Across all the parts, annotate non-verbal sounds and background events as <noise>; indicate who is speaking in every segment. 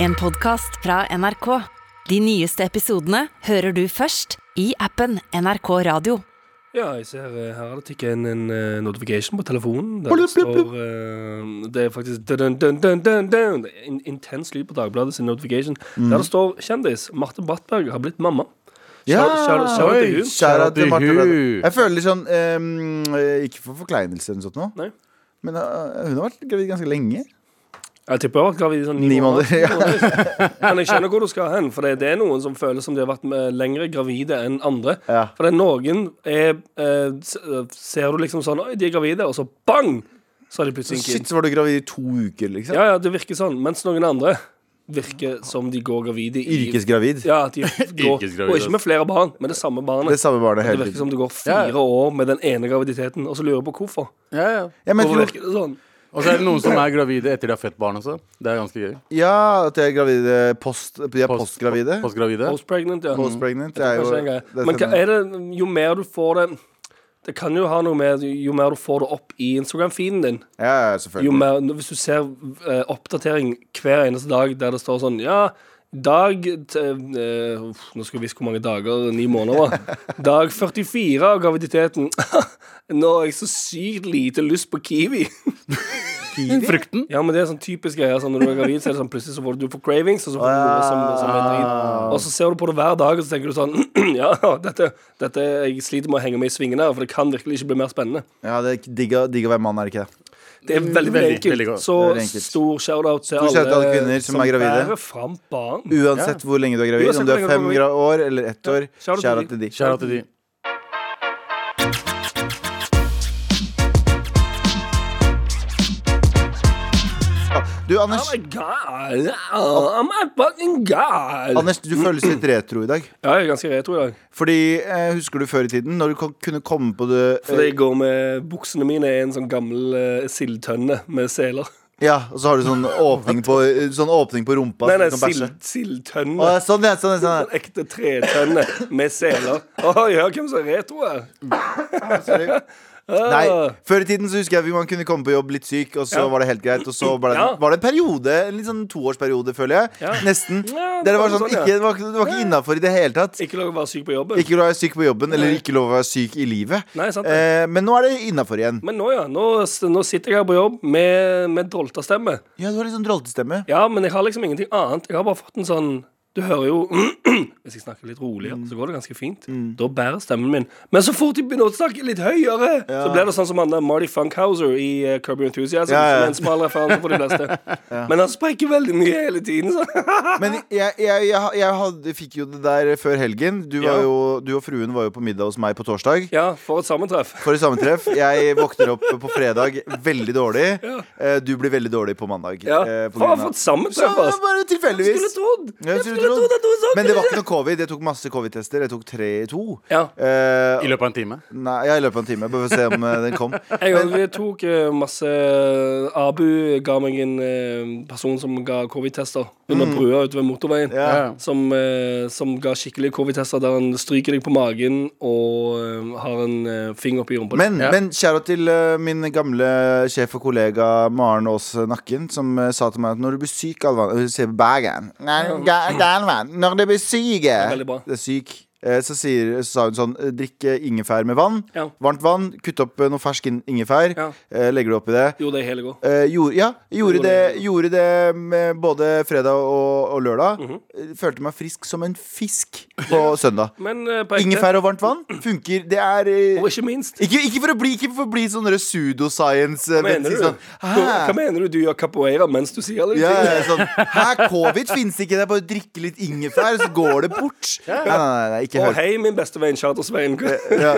Speaker 1: En podcast fra NRK. De nyeste episodene hører du først i appen NRK Radio.
Speaker 2: Ja, jeg ser eh, her har det tikket inn en eh, notification på telefonen. Der
Speaker 3: Blup,
Speaker 2: det
Speaker 3: blup,
Speaker 2: står eh, Det er faktisk dun, dun, dun, dun, dun. Det er en Intens lyd på Dagbladet sin notification.
Speaker 3: Mm.
Speaker 2: Der det står 'Kjendis Marte Brattberg har blitt mamma'. Shout- shout- shout out to you.
Speaker 3: Kjære til
Speaker 4: Shout out
Speaker 3: Marte
Speaker 4: to
Speaker 3: Bredde.
Speaker 4: you.
Speaker 3: Jeg føler litt sånn ehm, eh, Ikke for forkleinelse eller noe sånt nå,
Speaker 2: Nei.
Speaker 3: men eh, hun har vært gravid ganske lenge.
Speaker 2: Jeg tipper jeg har vært gravid i sånn ni
Speaker 3: Ni måneder.
Speaker 2: måneder. Men jeg skjønner hvor du skal hen, for det, det er noen som føles som de har vært med lengre gravide enn andre.
Speaker 3: <laughs> Ja.
Speaker 2: For det er noen er, eh, s- eh, Ser du liksom sånn Oi, de er gravide, og så bang! Så er de plutselig en kid.
Speaker 3: Shit, så var du gravid i to uker, liksom.
Speaker 2: Ja, ja, det virker sånn. Mens noen andre virker som de går gravide i
Speaker 3: Yrkesgravid.
Speaker 2: <laughs> Ja, at de går,
Speaker 4: Yrkesgravide,
Speaker 2: og ikke med flere barn, men det samme barnet.
Speaker 3: Det samme
Speaker 2: det
Speaker 3: barnet hele
Speaker 2: virker
Speaker 3: tiden.
Speaker 2: som det går fire år med den ene graviditeten, og så lurer jeg på hvorfor.
Speaker 4: Ja, ja.
Speaker 3: Ja, men,
Speaker 2: Hvorfor
Speaker 3: jeg tror,
Speaker 2: virker det sånn?
Speaker 4: Og så er det noen som er gravide etter de har født barn også. Det er ganske gøy.
Speaker 3: ja, at de er gravide post, De er
Speaker 4: Post-
Speaker 3: postgravide. Mm.
Speaker 4: Postgravide.
Speaker 2: Postpregnant, ja.
Speaker 3: Postpregnant. Det er sånn- jo
Speaker 2: Kanskje en
Speaker 3: det
Speaker 2: greie. Men hva
Speaker 3: stemmer.
Speaker 2: er det, jo mer du får det Det kan jo ha noe med jo mer du får det opp i Instagram-feeden din.
Speaker 3: Ja, ja,
Speaker 2: Jo
Speaker 3: selvfølgelig.
Speaker 2: mer, hvis du ser eh, oppdatering hver eneste dag der det står sånn Ja, dag t, eh, uff, Nå skal vi vise hvor mange dager ni måneder var. Dag 44 av graviditeten. <laughs> Nå har jeg så sykt lite lyst på Kiwi.
Speaker 4: Frukten.
Speaker 2: Ja, men det er sånn typisk greier. Sånn, når du er gravid, så er det sånn plutselig så får du du får cravings, og så får du noe som, som er drit. Og så ser du på det hver dag, og så tenker du sånn <clears throat> Ja, dette, dette Jeg sliter med å henge meg i svingene her, for det kan virkelig ikke bli mer spennende.
Speaker 3: Ja, det er ikke- digg å digg å være mann, er det ikke det?
Speaker 2: Det er veldig, Mm, veldig
Speaker 4: Veldig,
Speaker 2: enkelt.
Speaker 4: veldig godt.
Speaker 2: så
Speaker 3: Veldig enkelt.
Speaker 2: stor shout-out til
Speaker 3: Stor
Speaker 2: alle,
Speaker 3: shout-out til kvinner som er gravide.
Speaker 2: bærer fram barn.
Speaker 3: Uansett hvor lenge du er gravid,
Speaker 2: Uansett
Speaker 3: om du
Speaker 2: hvor
Speaker 3: er
Speaker 2: lenge du er
Speaker 3: fem gra- år eller ett år,
Speaker 2: shout out
Speaker 3: kjære
Speaker 2: til
Speaker 3: til de.
Speaker 4: Kjære til de.
Speaker 3: Du,
Speaker 2: Oh
Speaker 3: Anders,
Speaker 2: my god, oh my fucking god.
Speaker 3: Anders, du føles litt retro i dag.
Speaker 2: Ja, jeg er ganske retro i dag.
Speaker 3: Fordi, eh, Husker du før i tiden, når du kon- kunne komme på det eh,
Speaker 2: Fordi jeg går med buksene mine i en sånn gammel eh, sildtønne med seler.
Speaker 3: Ja, og så har du sånn åpning på, sånn åpning på rumpa.
Speaker 2: Nei,
Speaker 3: så
Speaker 2: nei,
Speaker 3: du kan
Speaker 2: sild,
Speaker 3: bæsje.
Speaker 2: sildtønne.
Speaker 3: Å, sånn, ja, sånn, ja, sånn.
Speaker 2: En ekte tretønne med seler. Oi, hør hvem som er retro her.
Speaker 3: ja. Sorry. Nei, Før i tiden så husker jeg vi- man kunne komme på jobb litt syk, og så
Speaker 2: Ah. Ja.
Speaker 3: var det helt greit. Og så var det,
Speaker 2: Ja.
Speaker 3: var det en periode, en litt sånn toårsperiode, føler jeg.
Speaker 2: Ja.
Speaker 3: Nesten.
Speaker 2: Ja, det
Speaker 3: Der det
Speaker 2: var
Speaker 3: var sånn,
Speaker 2: sånn, ja.
Speaker 3: ikke, det var, ikke- det var ikke innafor i det hele tatt.
Speaker 2: Ikke lov å være syk på jobben.
Speaker 3: Ikke lov å være syk på jobben, eller ikke lov å være syk i livet.
Speaker 2: Nei, sant det.
Speaker 3: eh, men nå er det innafor igjen.
Speaker 2: Men nå, ja. Nå, nå sitter jeg her på jobb med, med droltastemme.
Speaker 3: Ja, du har litt sånn droltestemme.
Speaker 2: Ja, men jeg har liksom ingenting annet. Jeg har bare fått en sånn Du hører jo <clears throat> Hvis jeg snakker litt roligere,
Speaker 3: Mm.
Speaker 2: så går det ganske fint. Da bærer stemmen min. Men så fort jeg begynner å snakke litt høyere, så blir det sånn som han der Marty Funkhauser i uh, Curb Your Enthusiasm.
Speaker 3: Ja, ja.
Speaker 2: Som er en smal referanse for de
Speaker 3: <laughs>
Speaker 2: fleste. Men han sprekker veldig mye hele tiden, så
Speaker 3: Men jeg, jeg, jeg, jeg hadde, fikk jo det der før helgen. Du, var
Speaker 2: Ja.
Speaker 3: jo, du og fruen var jo på middag hos meg på torsdag.
Speaker 2: Ja, for et sammentreff.
Speaker 3: For et sammentreff. Jeg våkner opp på fredag veldig dårlig. Eh, Du blir veldig dårlig på mandag.
Speaker 2: Ja.
Speaker 3: eh, på
Speaker 2: Faen,
Speaker 3: grunn av-
Speaker 2: for et
Speaker 3: Så det
Speaker 2: sammentreff,
Speaker 3: var
Speaker 2: ass.
Speaker 3: bare
Speaker 2: Jeg
Speaker 3: tilfeldigvis.
Speaker 2: skulle trodd.
Speaker 3: Ja,
Speaker 2: Jeg skulle trodd at sånn. noen sa
Speaker 3: Men det var ikke noe covid. Jeg tok masse covid-tester. Jeg tok tre i to.
Speaker 2: Ja.
Speaker 3: Eh,
Speaker 4: I løpet av en time.
Speaker 3: nei, ja, I løpet av en time. Bare for å se om eh, den kom.
Speaker 2: <laughs> Jeg, vi tok eh, masse eh, Abu ga meg en eh, person som ga covid-tester under brua ute ved motorveien.
Speaker 3: Mm. Ja.
Speaker 4: Ja.
Speaker 2: Som, eh, som ga skikkelige covid-tester der han stryker deg på magen og eh, har en eh, finger oppi rumpa.
Speaker 3: Men,
Speaker 4: Ja.
Speaker 3: men kjære til eh, min gamle sjef og kollega Maren Aas Nakken, som eh, sa til meg at når du blir syk, Galvan Hun sier Bergen. Nei, Ga- Galvan. Når du blir syk eh,
Speaker 2: er veldig bra.
Speaker 3: Det er syk. Eh, Så, sier, så sa hun sånn eh, Drikk eh, ingefær med vann.
Speaker 2: Ja.
Speaker 3: Varmt vann. Kutt opp eh, noe fersk in- ingefær.
Speaker 2: Ja.
Speaker 3: eh, Legger du oppi det.
Speaker 2: Gjorde det i hele går.
Speaker 3: Eh, gjorde, ja, gjorde
Speaker 2: Gjorde
Speaker 3: det,
Speaker 2: det.
Speaker 3: gjorde det med både fredag og, og lørdag.
Speaker 2: Mhm.
Speaker 3: Eh, Følte meg frisk som en fisk på søndag.
Speaker 2: Men eh, på ekte
Speaker 3: Ingefær og varmt vann funker. Det er eh,
Speaker 2: Og ikke minst
Speaker 3: ikke, ikke for å bli, ikke for å bli sånn der pseudoscience. eh,
Speaker 2: hva mener,
Speaker 3: men si
Speaker 2: du?
Speaker 3: sånn,
Speaker 2: Hva-
Speaker 3: hæ?
Speaker 2: hva mener du? Du gjør capoeira mens du sier alle de
Speaker 3: Ja,
Speaker 2: tingene?
Speaker 3: ja, sånn, hæ, covid finnes ikke. Det er bare å drikke litt ingefær, så går
Speaker 2: <laughs>
Speaker 3: det bort. Nei, nei, nei, ikke
Speaker 2: Å,
Speaker 3: hør.
Speaker 2: hei, min beste venn Charter-Svein.
Speaker 3: Ja,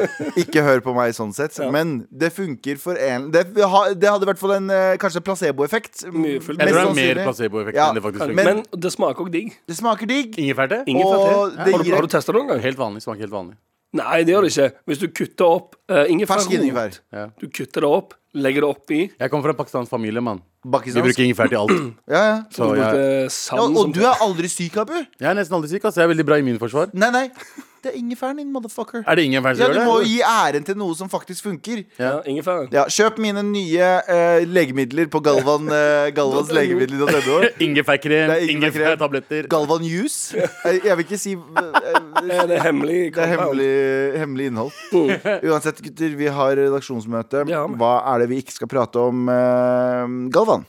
Speaker 3: ikke hør på meg sånn sett,
Speaker 2: Ja.
Speaker 3: men det funker for en Det, ha- det hadde i hvert fall en eh, kanskje placeboeffekt.
Speaker 2: Mye fullt.
Speaker 3: Mest
Speaker 4: Jeg tror det er mer
Speaker 3: sannsynlig.
Speaker 4: placeboeffekt
Speaker 3: Ja,
Speaker 4: enn det faktisk
Speaker 3: men-
Speaker 4: funker.
Speaker 2: Men det smaker òg digg.
Speaker 3: Det smaker digg.
Speaker 4: Ingefærte?
Speaker 3: Og
Speaker 2: Ingefær
Speaker 3: det
Speaker 2: til. Har du,
Speaker 3: gir-
Speaker 2: har du testa det noen gang?
Speaker 4: Helt vanlig. Smaker helt vanlig.
Speaker 2: Nei, det gjør det ikke. Hvis du kutter opp uh, ingefær
Speaker 3: Fersk ingefær.
Speaker 4: Ja.
Speaker 2: Du kutter det opp, legger det oppi.
Speaker 4: Jeg kommer fra en pakistansk familie, mann. Vi
Speaker 3: Pakistansk.
Speaker 4: bruker ingefær til <clears throat> alt.
Speaker 3: Ja, ja.
Speaker 4: Så jeg,
Speaker 2: Brukte
Speaker 3: Ja,
Speaker 2: sand
Speaker 3: og
Speaker 2: eh, som
Speaker 3: du er aldri syk, Abu.
Speaker 4: jeg er nesten aldri syk, altså. Jeg er veldig bra immunforsvar.
Speaker 3: Nei, nei. Det er ingefæren din, motherfucker.
Speaker 4: Er det ingefær
Speaker 3: Ja,
Speaker 4: som
Speaker 3: du
Speaker 4: gjør det?
Speaker 3: må jo gi æren til noe som faktisk funker.
Speaker 2: ja, Ingefæren.
Speaker 3: Ja, Kjøp mine nye eh, legemidler på Galvan, eh,
Speaker 2: <laughs>
Speaker 3: Galvans legemidler.no.
Speaker 4: Ingefærkrem,
Speaker 3: Det er ingefærkrem.
Speaker 4: ingefærtabletter.
Speaker 3: Galvan Juice. Jeg, jeg vil ikke si eh,
Speaker 2: <laughs> Ja, det er hemmelig. altså.
Speaker 3: Det
Speaker 2: compound.
Speaker 3: er hemmelig, hemmelig innhold.
Speaker 2: Mm.
Speaker 3: Uansett, gutter, vi har redaksjonsmøte.
Speaker 2: Det har vi.
Speaker 3: Hva er det vi ikke skal prate om, eh,
Speaker 2: <laughs>
Speaker 3: Galvan?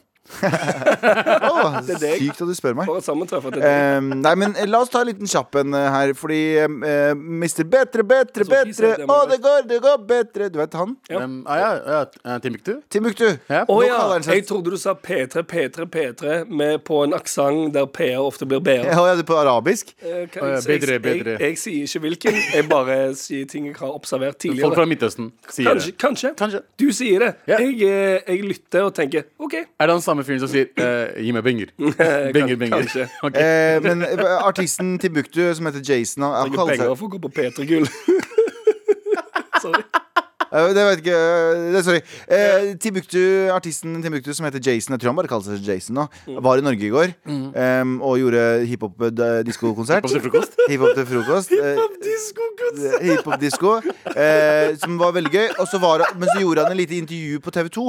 Speaker 3: Å,
Speaker 2: Det er deg.
Speaker 3: sykt at du spør meg.
Speaker 2: For et sammentreff. at det er
Speaker 3: Eh, nei, men eh, la oss ta en liten kjapp en eh, her, fordi uh, Mister Betre, Betre,
Speaker 2: Så fint,
Speaker 3: Betre
Speaker 2: det
Speaker 3: Å,
Speaker 2: må
Speaker 3: det går, det går bedre! Du vet han?
Speaker 2: Ja.
Speaker 4: Um, ah, ja, ja, eh, Timbuktu?
Speaker 3: Timbuktu.
Speaker 4: Ja.
Speaker 2: Å
Speaker 3: Nå
Speaker 2: ja,
Speaker 3: kaller han seg-
Speaker 2: jeg trodde du sa P3, P3, P3 med på en aksent der PR ofte blir BR.
Speaker 3: Ja, det er på arabisk?
Speaker 2: Eh, hva-
Speaker 4: Å ja,
Speaker 2: jeg-
Speaker 4: bedre,
Speaker 2: jeg-
Speaker 4: bedre.
Speaker 2: Jeg, jeg sier ikke hvilken, jeg bare sier ting jeg har observert
Speaker 4: Folk fra
Speaker 2: tidligere.
Speaker 4: Midtøsten sier
Speaker 2: Kanskje,
Speaker 4: det.
Speaker 2: kanskje.
Speaker 4: Kanskje.
Speaker 2: Du sier det.
Speaker 4: Ja.
Speaker 2: Jeg, eh, jeg lytter og tenker OK.
Speaker 4: Er det han samme fyren som sier eh, 'gi
Speaker 3: <laughs>
Speaker 4: meg penger'? Penger, penger.
Speaker 2: kanskje.
Speaker 4: <laughs> Ok.
Speaker 3: Eh, men eh, artisten Timbuktu, som heter Jason han, han
Speaker 2: Jeg har
Speaker 3: kaller
Speaker 2: penger
Speaker 3: seg,
Speaker 2: for å gå på P3 Gull. Sorry.
Speaker 3: Eh, Det vet ikke eh, det, Sorry. Eh, Timbuktu, artisten Timbuktu som heter Jason, jeg tror han bare kaller seg Jason nå, var i Norge i går eh, og gjorde hiphop-diskokonsert.
Speaker 4: Kom til frokost.
Speaker 3: <laughs> Hiphop til frokost. Eh, hiphop-disko, eh, som var veldig gøy. Og så var, han- men så gjorde han et lite intervju på TV 2,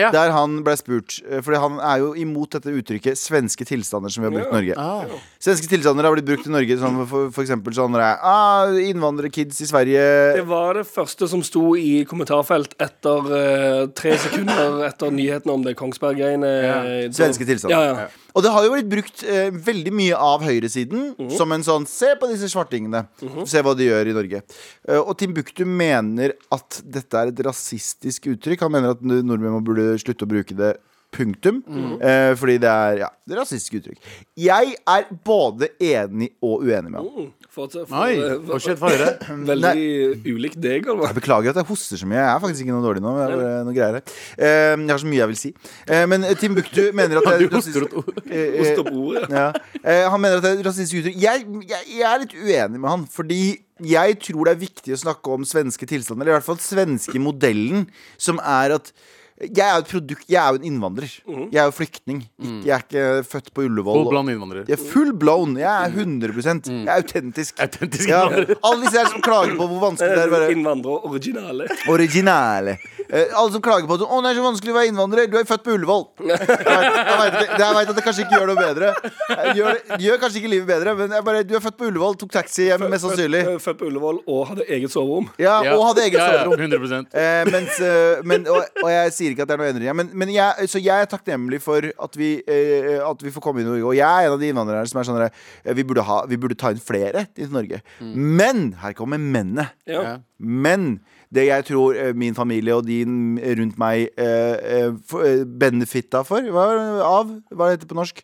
Speaker 4: Ja.
Speaker 3: der han ble spurt. eh, Fordi han er jo imot dette uttrykket 'svenske tilstander' som vi har brukt i Norge.
Speaker 4: Ah.
Speaker 3: Svenske tilstander har blitt brukt i Norge som for, for eksempel sånn der, ah, Innvandrerkids i Sverige
Speaker 2: <laughs> Det var det første som sto i kommentarfelt etter eh, tre sekunder etter nyheten om det Kongsberg-greiene. eh,
Speaker 4: Ja.
Speaker 2: Så-
Speaker 3: Svenske tilstander.
Speaker 2: Ja, ja.
Speaker 3: Og det har jo blitt brukt eh, veldig mye av høyresiden som en sånn Se på disse svartingene. Se hva de gjør i Norge. Eh, og Timbuktu mener at dette er et rasistisk uttrykk. Han mener at n- nordmenn må burde slutte å bruke det. Punktum. Eh, fordi det er ja, det er rasistisk uttrykk. Jeg er både enig og uenig med ham.
Speaker 2: Mm, For, for,
Speaker 4: Oi,
Speaker 2: eh,
Speaker 4: oh shit, få høre.
Speaker 2: Veldig ulikt deg, Galvan.
Speaker 3: Jeg beklager at jeg hoster så mye. Jeg er faktisk ikke noe dårlig nå. Jeg, har, eh, noe greier her. Eh, jeg har så mye jeg vil si. Eh, men Timbuktu mener at
Speaker 4: <laughs>
Speaker 3: det er
Speaker 4: Du hoster ut ord.
Speaker 3: Eh, eh,
Speaker 2: Host opp ordet.
Speaker 3: <laughs> ja. eh, Han mener at det er et rasistisk uttrykk. Jeg, jeg, jeg er litt uenig med han, fordi jeg tror det er viktig å snakke om svenske tilstander, eller i hvert fall svenske modellen, som er at jeg er jo et produkt, jeg er jo en innvandrer. Jeg er jo flyktning. Ikke- Jeg er ikke født på Ullevål.
Speaker 4: Mhm. Mm. Full blond innvandrer.
Speaker 3: Jeg er full blown. Jeg er 100 Jeg er autentisk.
Speaker 4: Autentisk
Speaker 3: Ja,
Speaker 4: innvandrer.
Speaker 3: alle disse her som klager på hvor
Speaker 2: Eh,
Speaker 3: vanskelig det er å være
Speaker 2: Innvandrere originale.
Speaker 3: Originale. Eh, alle som klager på at Å, det er så vanskelig å være innvandrer. Du er jo født på Ullevål. Jeg vet- jeg vet ikke- jeg vet at det kanskje ikke gjør noe bedre. Eh, Gjør, det- gjør kanskje ikke livet bedre, men jeg bare, du er født på Ullevål, tok taxi hjem, mest sannsynlig.
Speaker 2: Født- Eh, Født på Ullevål og hadde eget soverom.
Speaker 3: Ja, Og hadde eget
Speaker 4: Ja, ja,
Speaker 3: soverom.
Speaker 4: 100
Speaker 3: Eh, mens, eh, men, og, og jeg sier ikke at det er noe å endre i, men, men jeg, så jeg er takknemlig for at vi, eh, at vi får komme inn i Norge. Og jeg er en av de innvandrerne som er sånn eh, vi, burde ha- vi burde ta inn flere til Norge.
Speaker 4: Mm.
Speaker 3: Men her kommer mennene.
Speaker 2: Ja.
Speaker 4: Ja.
Speaker 3: Men det jeg tror eh, min familie og din rundt meg eh, eh, f- eh, benefitta for hva, Av, hva heter det på norsk?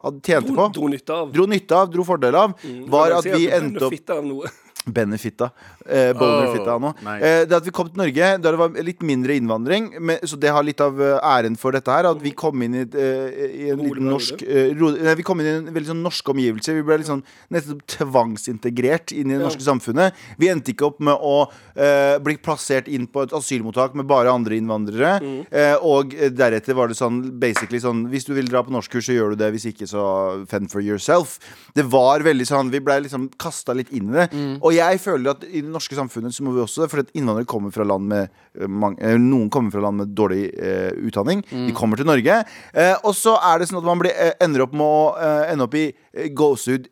Speaker 3: Hadde
Speaker 2: Dro,
Speaker 3: tjente
Speaker 2: Mm.
Speaker 3: på?
Speaker 2: dro nytte av.
Speaker 3: Dro nytte av, dro fordel av, var
Speaker 2: Jeg
Speaker 3: at
Speaker 2: sier
Speaker 3: vi
Speaker 2: du kunne
Speaker 3: endte opp
Speaker 2: fitte av noe.
Speaker 3: Benefitta. Eh, Bonerfitta
Speaker 4: Oh,
Speaker 3: nå.
Speaker 4: nice.
Speaker 3: Eh, det at vi kom til Norge da det var litt mindre innvandring, men, så det har litt av eh, æren for dette her. At
Speaker 2: Mm.
Speaker 3: vi kom inn i, et, eh, i en
Speaker 2: Rolig
Speaker 3: liten
Speaker 2: periode.
Speaker 3: norsk eh, ro, nei, Vi kom inn i en veldig sånn norsk omgivelse. Vi ble litt sånn nettopp tvangsintegrert inn i det norske samfunnet. Vi endte ikke opp med å eh, bli plassert inn på et asylmottak med bare andre innvandrere. Eh, og eh, deretter var det sånn basically sånn Hvis du vil dra på norskkurs, så gjør du det. Hvis ikke, så fend for yourself. Det var veldig sånn Vi blei liksom kasta litt inn i det. Og jeg føler at i det norske samfunnet så må vi også det, for at innvandrere kommer fra land med eh, mange, eh, Noen kommer fra land med dårlig eh, utdanning. De kommer til Norge. Eh, og så er det sånn at man blir, eh, ender opp med å eh, ende opp i eh,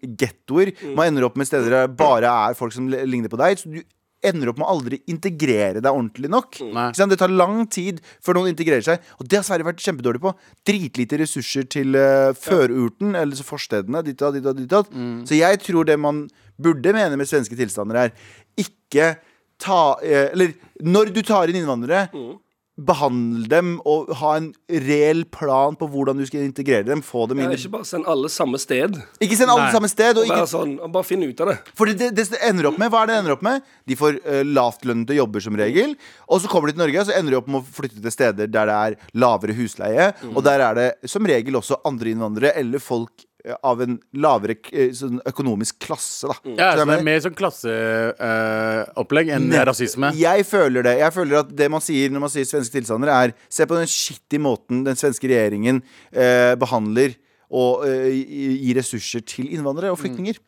Speaker 3: gåsehud-gettoer. Man ender opp med steder der det bare er folk som li- ligner på deg. Så du ender opp med å aldri integrere deg ordentlig nok.
Speaker 4: Nei.
Speaker 3: Ikke sant? Det tar lang tid før noen integrerer seg. Og det har Sverige vært kjempedårlig på. Dritlite ressurser til eh, førurten, eller så forstedene. Ditt og ditt og ditt og. Så jeg tror det man burde mene med svenske tilstander, er ikke ta eh, Eller når du tar inn innvandrere Behandle dem og ha en reell plan på hvordan du skal integrere dem. Få dem
Speaker 2: Ja,
Speaker 3: inn. i-
Speaker 2: Ikke bare send alle samme sted.
Speaker 3: Ikke send alle
Speaker 4: Nei.
Speaker 3: samme sted. Og
Speaker 2: Og
Speaker 3: ikke
Speaker 2: være sånn, og bare finn ut av det.
Speaker 3: for det, det, det ender opp med, Hva er det det ender opp med? De får uh, lavtlønnede jobber som regel. Og så kommer de til Norge og så ender de opp med å flytte til
Speaker 4: Mhm.
Speaker 3: steder der det er lavere husleie. Og der er det som regel også andre innvandrere eller folk eh, av en lavere k- eh, sånn økonomisk klasse, da. Så
Speaker 4: Ja,
Speaker 3: jeg
Speaker 4: så det
Speaker 3: mener-
Speaker 4: er mer sånn klasseopplegg enn rasisme.
Speaker 3: Jeg føler det. Jeg føler at det man sier når man sier svenske tilstander, er Se på den skittige måten den svenske regjeringen eh, behandler og eh, gir ressurser til innvandrere og flyktninger.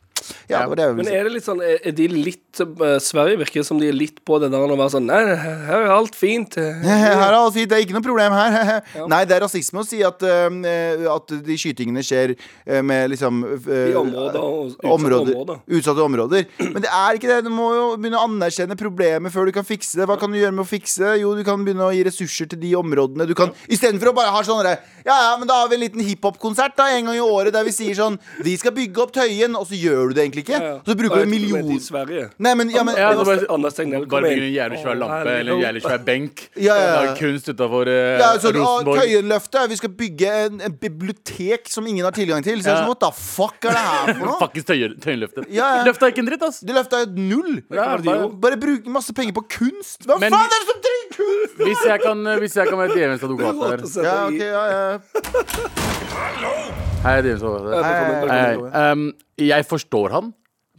Speaker 3: Ja, det var det jeg
Speaker 2: Men
Speaker 3: ville si.
Speaker 2: er det litt sånn Er er de litt eh, Sverige virker som de er litt på det der å være sånn Nei, her er alt
Speaker 3: <laughs>
Speaker 2: fint. eh,
Speaker 3: Her er alt fint, det er ikke noe problem her. <laughs> Nei, det er rasisme å si at, eh, at de skytingene skjer eh, med liksom eh,
Speaker 2: I områder og utsatte
Speaker 3: områder-
Speaker 2: områder.
Speaker 3: Utsatte områder. Men det er ikke det. Du må jo begynne å anerkjenne problemet før du kan fikse det. Hva kan du gjøre med å fikse det? Jo, du kan begynne å gi ressurser til de områdene. Du kan Istedenfor å bare ha sånn derre Ja, ja, men da har vi en liten hiphop-konsert da en gang i året der vi sier sånn Vi skal bygge opp Tøyen, og så gjør du det egentlig ikke.
Speaker 2: Ja, ja.
Speaker 3: Så bruker du en
Speaker 2: Og jeg tror det er de i
Speaker 3: million
Speaker 2: Sverige.
Speaker 3: Nei, men, ja, men
Speaker 4: Ja, det var-
Speaker 2: Anders Tegnell, kom
Speaker 4: Bare bygge en
Speaker 2: inn.
Speaker 4: jævlig svær
Speaker 2: Å,
Speaker 4: lampe
Speaker 2: herregud.
Speaker 4: eller en jævlig svær benk.
Speaker 3: Ja, ja, ja.
Speaker 4: Lage Kunst utafor eh,
Speaker 3: ja, sånn, å,
Speaker 4: Rosenborg.
Speaker 3: Tøyenløftet. Vi skal bygge en, en bibliotek som ingen har tilgang til. Så jeg er
Speaker 4: Ja.
Speaker 3: sånn, What the fuck er det her for noe?
Speaker 4: Fuckings Tøyen- Tøyenløftet.
Speaker 3: Ja, ja.
Speaker 4: Løfta ikke en dritt, ass.
Speaker 3: Det løfta jo null.
Speaker 4: Ja,
Speaker 3: bare,
Speaker 4: bare-
Speaker 3: bare bruke masse penger på kunst. Hva
Speaker 4: Men-
Speaker 3: faen er det som trenger kunst?!
Speaker 4: Hvis jeg kan, eh, hvis jeg kan være djevelens
Speaker 2: <laughs>
Speaker 4: advokat
Speaker 2: Godt
Speaker 4: her.
Speaker 2: å sette
Speaker 3: Ja,
Speaker 2: deg
Speaker 3: ok,
Speaker 2: i.
Speaker 3: ja, ja.
Speaker 4: Hei, djevelens advokat her.
Speaker 2: Velkommen,
Speaker 3: Hei,
Speaker 4: Hei,
Speaker 2: velkommen.
Speaker 4: ehm, jeg forstår han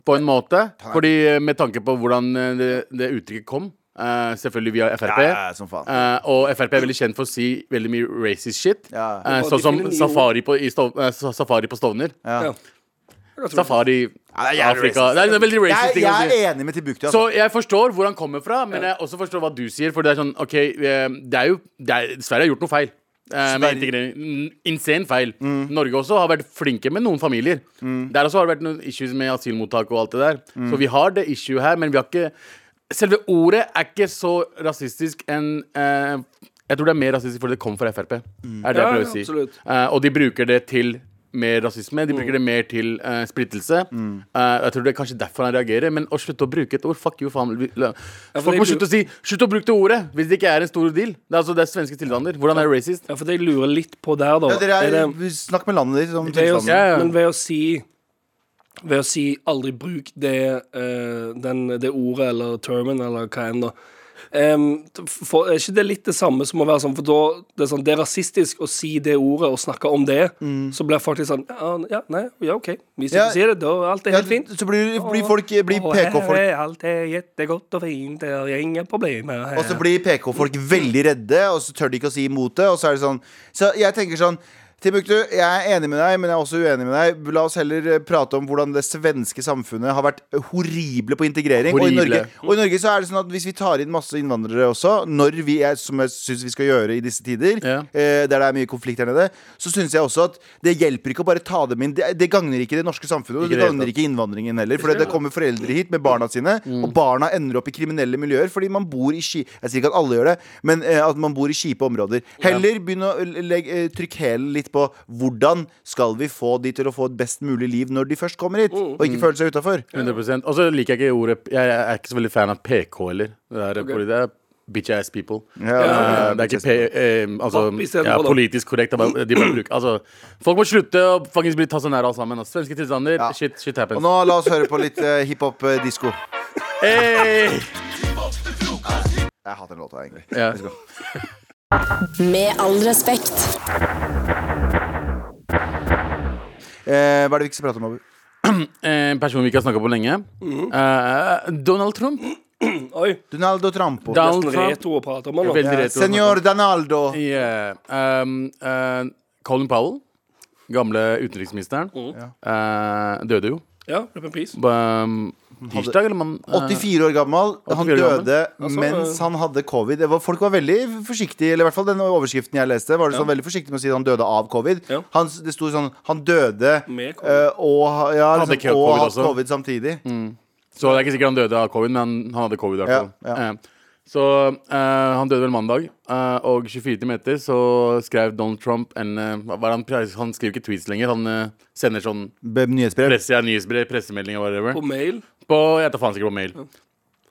Speaker 4: på en måte. Fordi eh, Med tanke på hvordan eh, det, det uttrykket kom. eh, selvfølgelig via Frp.
Speaker 3: Ja, ja, som faen.
Speaker 4: Eh, og Frp er veldig kjent for å si veldig mye racist shit.
Speaker 3: Ja.
Speaker 4: Eh,
Speaker 2: Og
Speaker 4: sånn som
Speaker 2: de finner nye
Speaker 4: safari på, i Stov, eh, sa- safari på Stovner.
Speaker 2: Ja. Jeg tror-
Speaker 4: Safari
Speaker 3: det er jævlig
Speaker 4: Afrika. Det er en veldig racist
Speaker 3: Jeg,
Speaker 4: ting å si.
Speaker 3: jeg er enig med Tibukti.
Speaker 4: Så
Speaker 3: Altså.
Speaker 4: jeg forstår hvor han kommer fra, men jeg også forstår hva du sier. For det er sånn, ok, eh, det er jo det er, Sverige har gjort noe feil. Eh, med
Speaker 3: Sverige-
Speaker 4: integrering. Mm, Insane feil. Norge også har vært flinke med noen familier. Der også har det vært noen issues med asylmottak og alt det der. Så vi har det issue her, men vi har ikke Selve ordet er ikke så rasistisk enn eh, Jeg tror det er mer rasistisk fordi det kom fra Frp. Er det
Speaker 2: Ja,
Speaker 4: jeg
Speaker 2: ja,
Speaker 4: prøver å
Speaker 2: absolutt.
Speaker 4: si. Eh, og de bruker det til mer rasisme. De
Speaker 3: Mm.
Speaker 4: bruker det mer til eh, splittelse. Eh, jeg tror det er kanskje derfor han reagerer. Men å slutte å bruke et ord Fuck you, faen. Vi- la-
Speaker 2: for
Speaker 4: Folk
Speaker 2: de
Speaker 4: må
Speaker 2: bru-
Speaker 4: slutte å si 'slutt å bruke det ordet' hvis det ikke er en stor deal. Det er, altså, det er svenske tilstander. Hvordan er det racist?
Speaker 2: Ja, for det jeg lurer litt på der, da
Speaker 3: Ja, dere
Speaker 2: er
Speaker 3: er,
Speaker 2: det,
Speaker 3: snakk med landet ditt om
Speaker 2: ved å,
Speaker 3: tilstanden.
Speaker 4: ja, ja.
Speaker 2: Men ved å si Ved å si 'aldri bruk det, eh, den, det ordet eller termen eller hva enn, da Em, t- for, Er ikke det litt det samme som å være sånn For da det er sånn, det er rasistisk å si det ordet og snakke om det. Så blir folk litt sånn Ja, ja nei, ja OK. Hvis du
Speaker 3: Mm. Ja.
Speaker 2: sier det, da er alt er
Speaker 3: Ja,
Speaker 2: helt fint.
Speaker 3: så blir, blir folk eh, blir
Speaker 2: Og
Speaker 3: PK-folk
Speaker 2: her er alt er jettegodt og fint, det er ingen problemer her.
Speaker 3: Og så blir PK-folk veldig redde, og så tør de ikke å si imot det. Og så er det sånn Så jeg tenker sånn Timbuktu, jeg er enig med deg, men jeg er også uenig med deg. La oss heller eh, prate om hvordan det svenske samfunnet har vært horrible på integrering. Og i,
Speaker 4: Horrible.
Speaker 3: Norge, og i Norge så er det sånn at hvis vi tar inn masse innvandrere også, når vi er, som jeg syns vi skal gjøre i disse tider,
Speaker 4: Ja.
Speaker 3: eh, der det er mye konflikt her nede, så syns jeg også at det hjelper ikke å bare ta dem inn. Det, det gagner ikke det norske samfunnet, og det
Speaker 4: Ikke det hele
Speaker 3: gagner ikke innvandringen heller. For det kommer foreldre hit med barna sine, og barna ender opp i kriminelle miljøer fordi man bor i ski... Jeg sier ikke at alle gjør det, men eh, at man bor i kjipe områder. Heller begynne å legge, eh, trykke hælen litt på hvordan skal vi få de til å få et best mulig liv når de først kommer hit,
Speaker 4: Mm.
Speaker 3: og ikke føle seg utafor.
Speaker 4: 100 Og så liker jeg ikke ordet Jeg er ikke så veldig fan av PK heller. Det er, fordi det er bitch ass people.
Speaker 3: Ja,
Speaker 4: Eh, det er ikke P... eh,
Speaker 2: Papp
Speaker 4: altså,
Speaker 2: istedenfor,
Speaker 4: ja,
Speaker 2: da.
Speaker 4: politisk korrekt. det er bare- De bare bruker Altså, folk må slutte å faktisk bli tasjonære alle sammen. ass. Svenske tilstander,
Speaker 3: Ja.
Speaker 4: shit, shit
Speaker 3: Og
Speaker 4: happens.
Speaker 3: nå la oss høre på litt eh, hiphop-disko.
Speaker 4: Hey!
Speaker 3: Jeg hater den låta, egentlig.
Speaker 4: Ja.
Speaker 1: Med all respekt.
Speaker 3: Eh, hva er det vi ikke skal prate om, Abu?
Speaker 4: Eh, En person vi ikke har snakka på lenge. Eh, Donald Trump.
Speaker 2: Oi,
Speaker 3: Donaldo Trampo.
Speaker 4: Da-
Speaker 2: nesten
Speaker 4: Donald Trump.
Speaker 2: retro å prate om han nå.
Speaker 4: Veldig
Speaker 3: Eh,
Speaker 4: retro.
Speaker 3: Senor Donaldo.
Speaker 4: Yeah. Um, eh, Colin Powell, gamle utenriksministeren, eh, døde jo.
Speaker 2: Ja, rip in peace.
Speaker 4: Um, tirsdag, eller man eh,
Speaker 3: 84 år gammel. Han
Speaker 4: 84 år gammel.
Speaker 3: døde
Speaker 2: Altså,
Speaker 3: mens han hadde covid. Det var, folk var veldig forsiktige, eller i hvert fall den overskriften jeg leste, var det sånn veldig forsiktig med å si at han døde av covid.
Speaker 2: Ja.
Speaker 3: Han, det sto sånn Han døde
Speaker 2: Med covid.
Speaker 3: eh, og ha- ja,
Speaker 4: Hadde
Speaker 3: liksom,
Speaker 4: ikke
Speaker 3: og
Speaker 4: covid
Speaker 3: hatt
Speaker 4: også.
Speaker 3: covid samtidig.
Speaker 4: Så det er ikke sikkert han døde av covid, men han, han hadde covid. i hvert
Speaker 3: Ja,
Speaker 4: fall
Speaker 3: ja.
Speaker 4: Eh, Så eh, han døde vel mandag, eh, og 24 timer etter så skrev Donald Trump en eh, hva er det han, pre- han skriver ikke tweets lenger, han eh, sender sånn
Speaker 3: Be- Nyhetsbrev.
Speaker 4: presse, ja, nyhetsbrev, pressemeldinger og whatever.
Speaker 2: På mail.
Speaker 4: På, jeg tar faen sikkert på mail.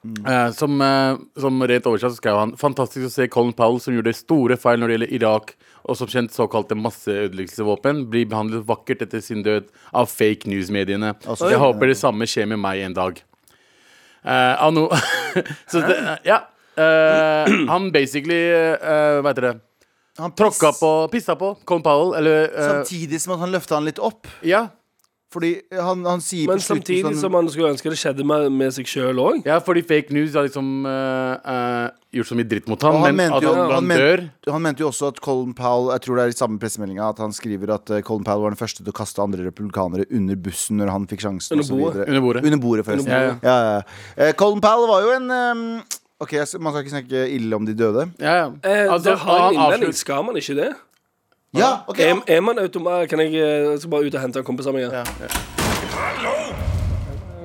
Speaker 3: Mm.
Speaker 4: Eh, som, eh, som rent oversatt så skrev han Fantastisk å se Colin Powell, som gjorde store feil når det gjelder Irak, og som kjent såkalte masseødeleggelsesvåpen, blir behandlet vakkert etter sin død av fake news-mediene.
Speaker 3: Altså,
Speaker 4: jeg
Speaker 3: Oi.
Speaker 4: håper det samme skjer med meg en dag. Eh, av <laughs> noe- så det, ja. Eh, han basically eh, Hva heter det?
Speaker 3: Han piss-
Speaker 4: Tråkka på, pissa på Colin Powell, eller eh,
Speaker 3: Samtidig som at han løfta han litt opp.
Speaker 4: Ja.
Speaker 3: Fordi han, han sier
Speaker 2: Men
Speaker 3: på slutten
Speaker 2: samtidig
Speaker 3: sånn-
Speaker 2: som man skulle ønske det skjedde med, med seg sjøl òg.
Speaker 4: Ja, fordi fake news har liksom eh, eh, gjort så mye dritt mot ham,
Speaker 3: Og han
Speaker 4: men
Speaker 3: mente
Speaker 4: at
Speaker 3: jo-
Speaker 4: han,
Speaker 3: han
Speaker 4: han
Speaker 3: mente-
Speaker 4: dør
Speaker 3: Han mente jo også at Colin Powell Jeg tror det er i samme pressemeldinga at han skriver at eh, Colin Powell var den første til å kaste andre republikanere under bussen når han fikk sjansen.
Speaker 2: Under
Speaker 3: og så
Speaker 2: bordet.
Speaker 3: videre.
Speaker 4: under bordet.
Speaker 3: Under bordet, forresten.
Speaker 4: Under
Speaker 3: Ja,
Speaker 4: bordet.
Speaker 3: ja. Eh, Colin Powell var jo en eh, Ok, jeg s- Man skal ikke snakke ille om de døde.
Speaker 4: Ja, ja.
Speaker 2: Eh,
Speaker 4: Altså,
Speaker 2: der har jeg en
Speaker 4: han
Speaker 2: innvending.
Speaker 4: avslutt-
Speaker 2: Skal man ikke det?
Speaker 3: Ja, ok
Speaker 2: Er, er man automat... Kan jeg, eh, jeg skal bare ut og hente en kompis av meg igjen.